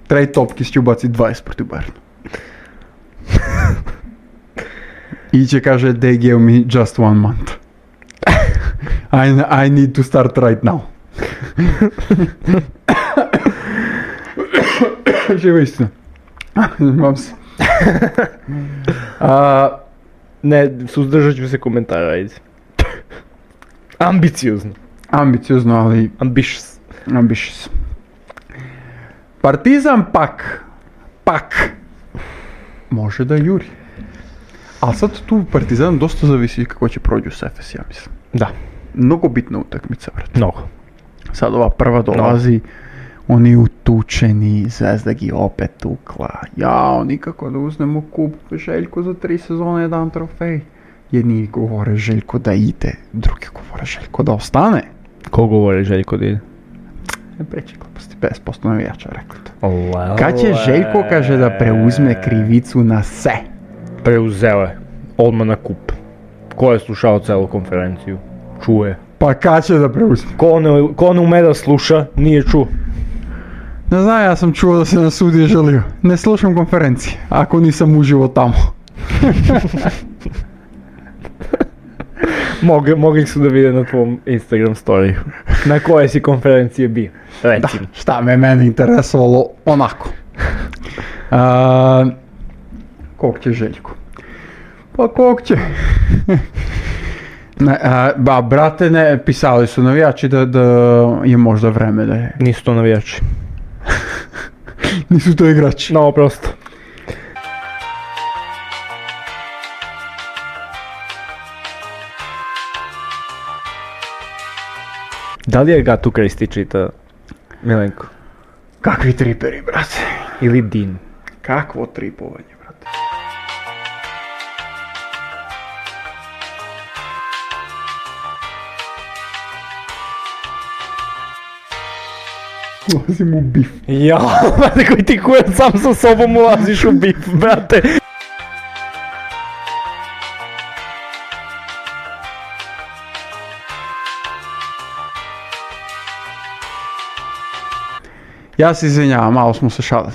Trej Topkis će ubaciti 20 protiv Bayernu. I će kaže, they gave me just one month. I, I need to start right now. Živa istina. no. Imam se. A,
Ne, suzdržat ću se komentara, ajde. Ambiciozno.
ambiciozno, ali
Ambitious.
No, ambitious. Partizan pak, pak, može da juri. A sad tu Partizan dosta zavisi kako će prođu s Efes, ja mislim.
Da,
Mnogo bitna utakmica, brate.
mnogo.
Sad ova prva dolazi, oni utučeni, Zvezda gi opet tukla. Jao, nikako da uzmemo kup Željko za tri sezone jedan trofej. Jedni govore Željko da ide, drugi govore Željko da ostane.
Ko govori Željko da ide?
Ne preći gluposti, 50% navijača rekli to. Kad će Željko, kaže, da preuzme krivicu na se?
Preuzeo je. Odmah na kup. Ko je slušao celu konferenciju? Čuje.
Pa kad će da preuzme?
Ko ne, ko ne ume da sluša, nije čuo.
Ne znam, ja sam čuo
да
da se na sudi želio. Ne slušam konferencije, ako nisam uživo tamo.
Mogli, mogli su da vide na tvom Instagram storiju. Na koje si konferencije bio? Recimo.
Šta me mene interesovalo onako. A, kog će Željko? Pa kog će? ne, a, ba, brate, ne, pisali su navijači da, da je možda vreme da je.
Nisu to navijači.
Nisu to igrači.
No, prosto. Da li je Gatu Kristi čita Milenko?
Kakvi triperi, brate.
Ili Din?
Kakvo tripovanje, brate. Ulazim u bif.
Ja, brate, koji ti kujan sam sa sobom ulaziš u bif, brate.
Ja se izvinjavam, malo smo se šalili.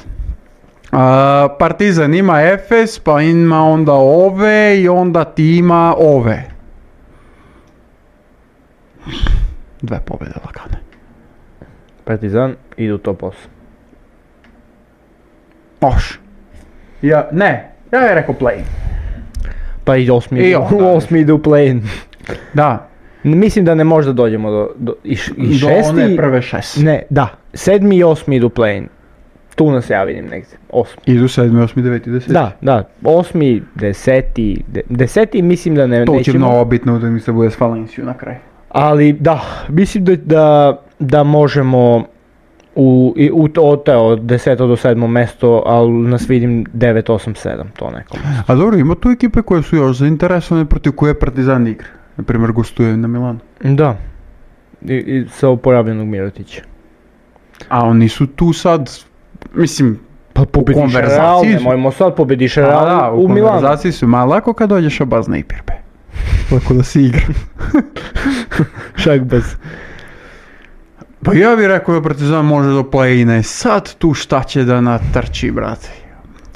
A, Partizan ima Efes, pa ima onda ove i onda ti ima ove. Dve pobjede lagane.
Partizan ide u top 8.
Moš. Ja, ne, ja je rekao play.
Pa i osmi,
I
ide,
onda.
u osmi ide u play-in.
Da,
Mislim da ne može da dođemo do, do i, š- i
do
šesti.
one prve šest.
Ne, da. Sedmi i osmi idu u play-in. Tu nas ja vidim negdje. Osmi.
Idu sedmi, osmi, deveti, deseti.
Da, da. Osmi, deseti. de- deseti mislim da ne,
To će
nećemo.
mnogo bitno da mi se bude s Valenciju na kraj.
Ali da, mislim da, da, da možemo u, i, u to, od, evo, deseto do sedmo mesto, ali nas vidim 9, 8, 7, to neko.
A dobro, ima tu ekipe koje su još zainteresovane protiv koje Partizan igra. Naprimjer, gostuje na Milanu.
Da. I, i sa oporabljenog Mirotića.
A oni su tu sad, mislim,
Pa
pobediš Real,
nemojmo sad pobediš
A,
Real
da, u,
Pa u Milanu.
konverzaciji su malo lako kad dođeš abaz na Ipirbe. Lako da se igra.
Šak bez.
Pa ja bih rekao da Partizan može do play Sad tu šta će da natrči, brate.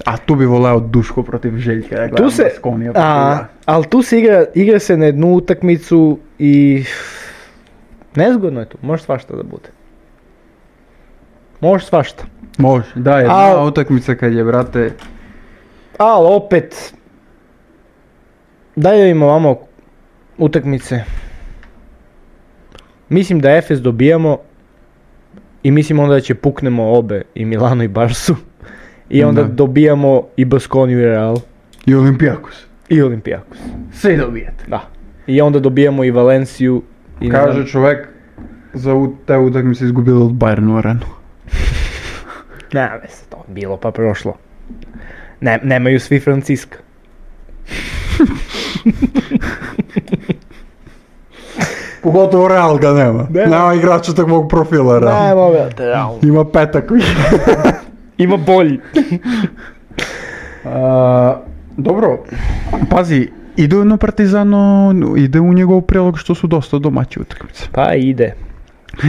A tu bi voleo Duško protiv Željka. Da
Tu se, a, ali tu se igra, igra se na jednu utakmicu i nezgodno je tu, može svašta da bude. Može svašta.
Može, da, jedna
Al-
utakmica kad je, brate,
Ali opet, daj da vidimo ovamo utakmice. Mislim da Efes dobijamo i mislim onda da će puknemo obe i Milano i Barsu. I onda
Da.
dobijamo i Baskoniju i Real
i Olimpijakos.
i Olimpijakos.
Sve dobijete.
Da. I onda dobijamo i Valenciju. I ne
Kaže
znam-
čovek, za u, te utakmice izgubilo od Bayernu u arenu.
Ne, veze, to bilo pa prošlo. Ne, nemaju svi Franciska.
Pogotovo Real ga nema. Nema igrača takvog profila Real.
brate, realno.
Ima petak
Ima bolji.
A, dobro, pazi, ide na Partizano, ide u njegov prilog što su dosta domaće utakmice.
Pa ide.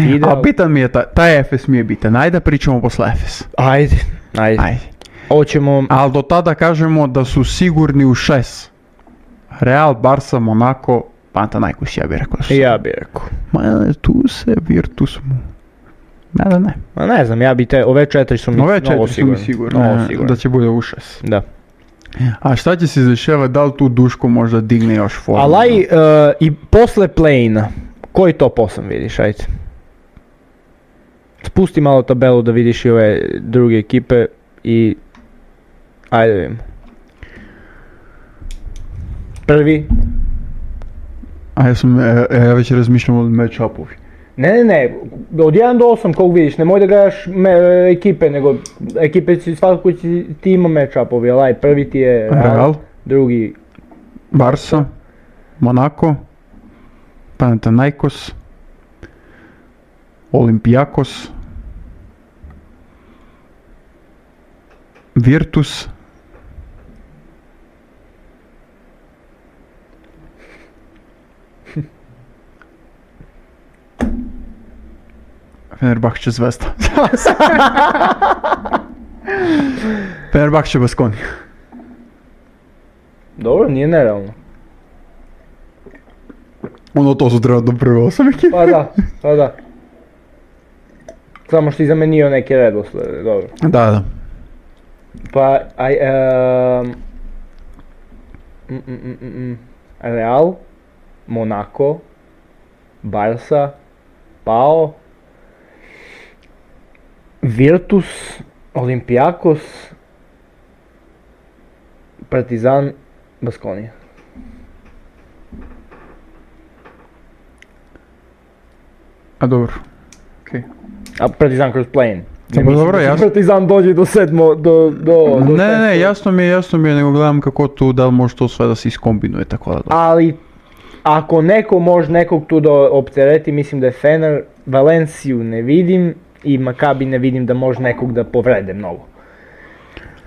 Ide.
A
ali-
bitan mi je, ta, taj Efes mi je bitan, ajde pričamo posle Efes.
Ajde, ajde.
Ajde.
Hoćemo...
Ali do tada kažemo da su sigurni u šest. Real, Barca, Monaco, Pantanajkus, ja bih rekao da su.
Ja bi rekao.
Ma, e, tu se Virtus mu. Ne, da ne.
Ma ne znam, ja bi te, ove četiri su mi
Ove
novo
četiri su mi sigurni
Novo
e,
sigurno.
da će bude u šest.
Da.
A šta će se izdešavati, da li tu Duško možda digne još formu?
Alaj, e, i posle play-ina, koji top 8 vidiš, ajde? Spusti malo tabelu da vidiš i ove druge ekipe i... Ajde vidimo. Prvi.
A ja sam, e, e, ja već razmišljam o match-upovi.
Ne, ne, ne, od 1 do 8 kog vidiš, nemoj da gledaš me, e, ekipe, nego ekipe si svakako ti, ti ima match-upovi, ali aj, prvi ti je Real,
Real,
drugi
Barca, Monaco, Panathinaikos, Olympiakos, Virtus, Fenerbahče Zvezda. Fenerbahče Baskoni.
Dobro, nije nerealno.
Ono to su trenutno prve osam ekipa.
Pa da, pa da. Samo što je zamenio neke redoslede, dobro.
Da,
Да,
da.
Pa, aj, em, mm, mm, mm, mm, mm. Real, Monaco, Barca, Pao, Virtus, Olympiakos, Partizan, Baskonija.
A dobro.
A Partizan kroz play-in. Ne
Pa
mislim
dobro,
da će
jas-
Partizan dođe do sedmo, do, do, do
Ne, ne, ne,
šestog.
jasno mi je, jasno mi je, nego gledam kako tu, da li može to sve da se iskombinuje, tako da dobro.
ali ako neko može nekog tu da optereti, mislim da je Fener, Valenciju ne vidim i Makabi ne vidim da može nekog da povrede mnogo.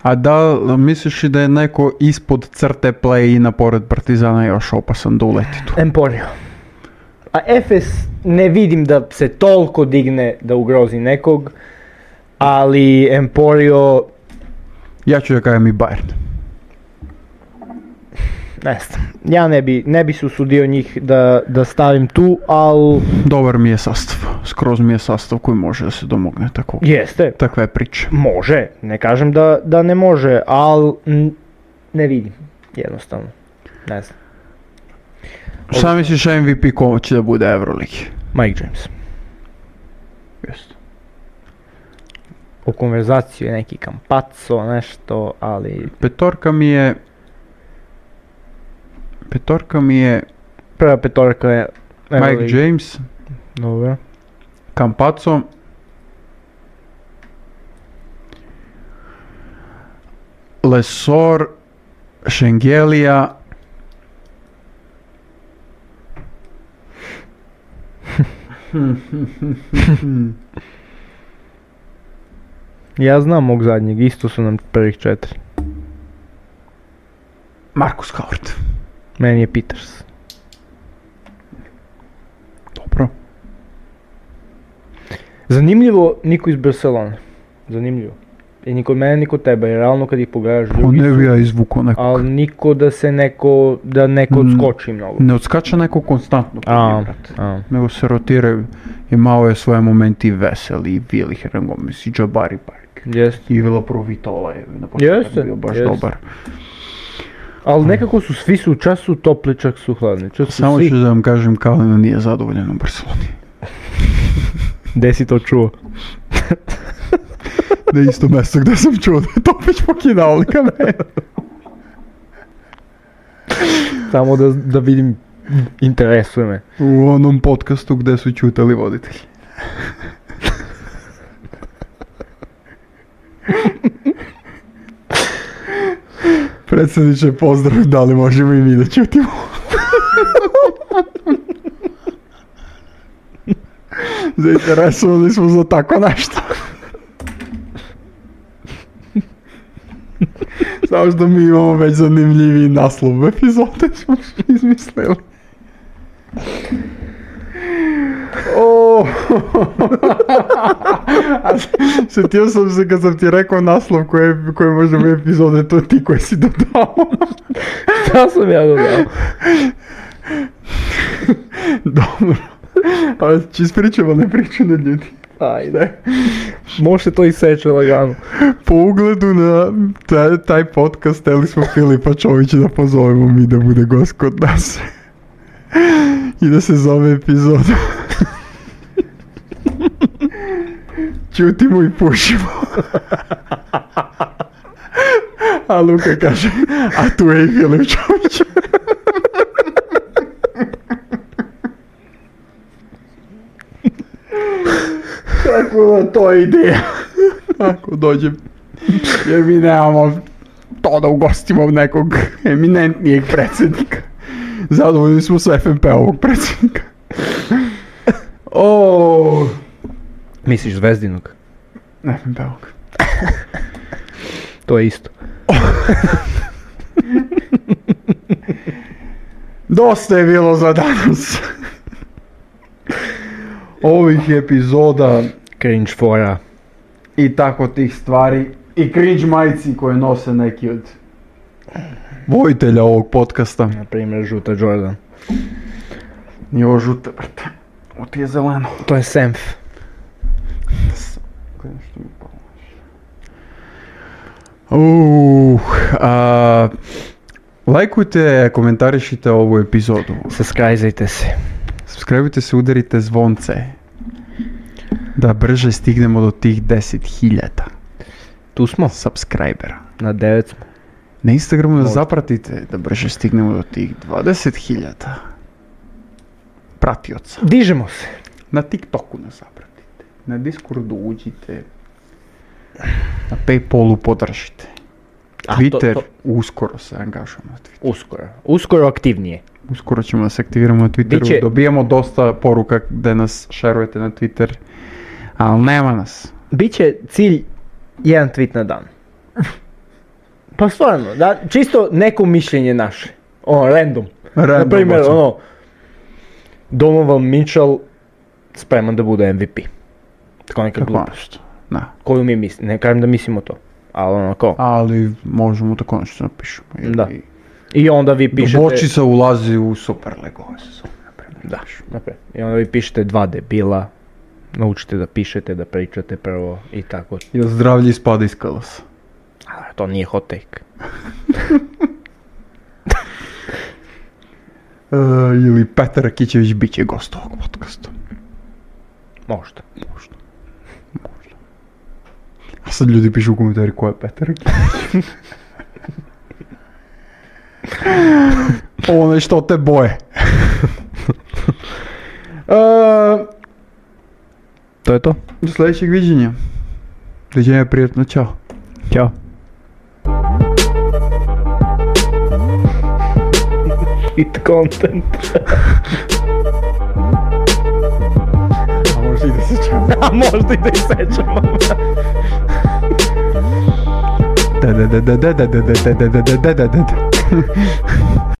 A da li misliš li da je neko ispod crte play-ina pored Partizana još opasan da uleti tu?
Emporio. A Efes ne vidim da se toliko digne da ugrozi nekog, ali Emporio,
Ja ću da kažem i Bayern.
ne znam, ja ne bi, ne bi se usudio njih da, da stavim tu, ali
Dobar mi je sastav, skroz mi je sastav koji može da se domogne tako.
jeste,
Takva je priča.
može, ne kažem da, da ne može, ali ne vidim, jednostavno, ne znam.
Šta misliš MVP ko će da bude Euroligi?
Mike James.
Jeste.
U konverzaciju je neki kampaco, nešto, ali
Petorka mi je... Petorka mi je
prva petorka je...
Mike James,
Dobro.
Campazzo. Lesor, Šengelija.
Ja znam mog zadnjeg, isto su nam prvih četiri.
Markus Howard.
Meni je Peters.
Dobro.
Zanimljivo, niko iz Barcelone. Zanimljivo. I ni kod mene, ni kod tebe, jer realno kad ih pogledaš
On
drugi
ne bi
su,
ja izvukao nekog.
ali niko da se neko, da neko
Mm.
odskoči mnogo.
Ne odskače neko konstantno. kod
A,
njih, brate.
a.
Nego se rotiraju. Imao je svoje momenti i veseli i Vili Herangomez i Jabari Park.
Jest.
I Vila Provitola je na početku
Jeste,
bio baš
jeste.
dobar.
Ali nekako su, svi su, čas su topli, čak su hladni, čas su
Mm. Samo
svi.
ću da vam kažem Kalina nije zadovoljan u Barceloni.
Gde si to čuo?
na isto mesto gdje sam čuo da je Topić pokidao lika mene.
Samo da, da vidim, interesuje me.
U onom podcastu gdje su čutali voditelji. Predsjedniče, pozdrav, da li možemo i mi
да
da čutimo? Zainteresovani smo za tako nešto. Samo što mi imamo već zanimljiviji naslov epizode smo izmislili. O,
Oh.
Sjetio sam se kad sam ti rekao naslov koje, koje možemo epizode, to ti koje si dodao.
Šta sam ja dodao?
Dobro. Ali će ispričamo ne priče na ljudi.
Ajde. Može to i seče lagano.
Po ugledu na taj, taj podcast, teli smo Filipa Čovića
да
da pozovemo mi da bude gost kod nas. I
да
da se zove epizoda. Ćutimo i pušimo. A Luka kaže, a tu je i Filip Čović.
Tako da to je ideja. Ako dođem, jer mi nemamo to da ugostimo od nekog eminentnijeg predsjednika. Zadovoljni smo sa FNP ovog predsjednika. O,
Misliš Zvezdinog?
FNP ovog.
To je isto.
Dosta je bilo za danas. Ovih epizoda
Cringe fora.
i tako tih stvari i cringe majci koje nose neki od vojitelja ovog podcasta.
Na primjer, žuta Jordan.
Nije ovo žuta, brate. Ovo ti je zeleno.
To je Senf.
Uh, a, lajkujte, komentarišite ovu epizodu.
Subscribeajte se.
Subscribeujte se, udarite zvonce. Da brže stignemo do tih 10.000
Tu smo.
subscribera.
Na 9 smo.
Na Instagramu da
Možda.
zapratite da brže stignemo do tih 20.000 pratioca.
Dižemo se.
Na TikToku nas zapratite. Na Discordu uđite. Na Paypalu podržite.
A, to-
Twitter,
to-
uskoro se angažujemo na Twitteru.
Uskoro. Uskoro aktivnije.
Uskoro ćemo da se aktiviramo na Twitteru.
Biće-
Dobijamo dosta poruka gde nas šerujete na Twitter. Ali nema nas.
Biće cilj jedan tweet na dan. Pa stvarno, da, čisto neko mišljenje naše. Ono, random.
Random
na primjer,
ocen.
ono, Donovan Mitchell spreman da bude MVP. Tako neka
Tako
glupost.
nešto. Da.
Koju mi mislimo, ne kažem da mislimo to. Ali ono, kao.
Ali možemo tako nešto napišemo. Ili...
Da. I onda vi pišete...
Bočica ulazi u Superligu ove sezone. na primjer.
Da, napred. I onda vi pišete dva debila, naučite da pišete, da pričate prvo i tako.
Jer zdravlje ispada iz kalasa.
A, to nije hot take.
E, ili Petar Rakićević bit će gost ovog podcasta.
Možda.
A sad ljudi pišu u komentari ko je Petar Rakićević. Onaj što te boje. E,
To je to.
do sljedećeg viđenja. Viđenja prijatno, čao.
Ćao. It content.
A možda i da se čao.
A možda i da isečemo.
Da, da, da, da, da, da, da, da, da, da, da, da, da, da.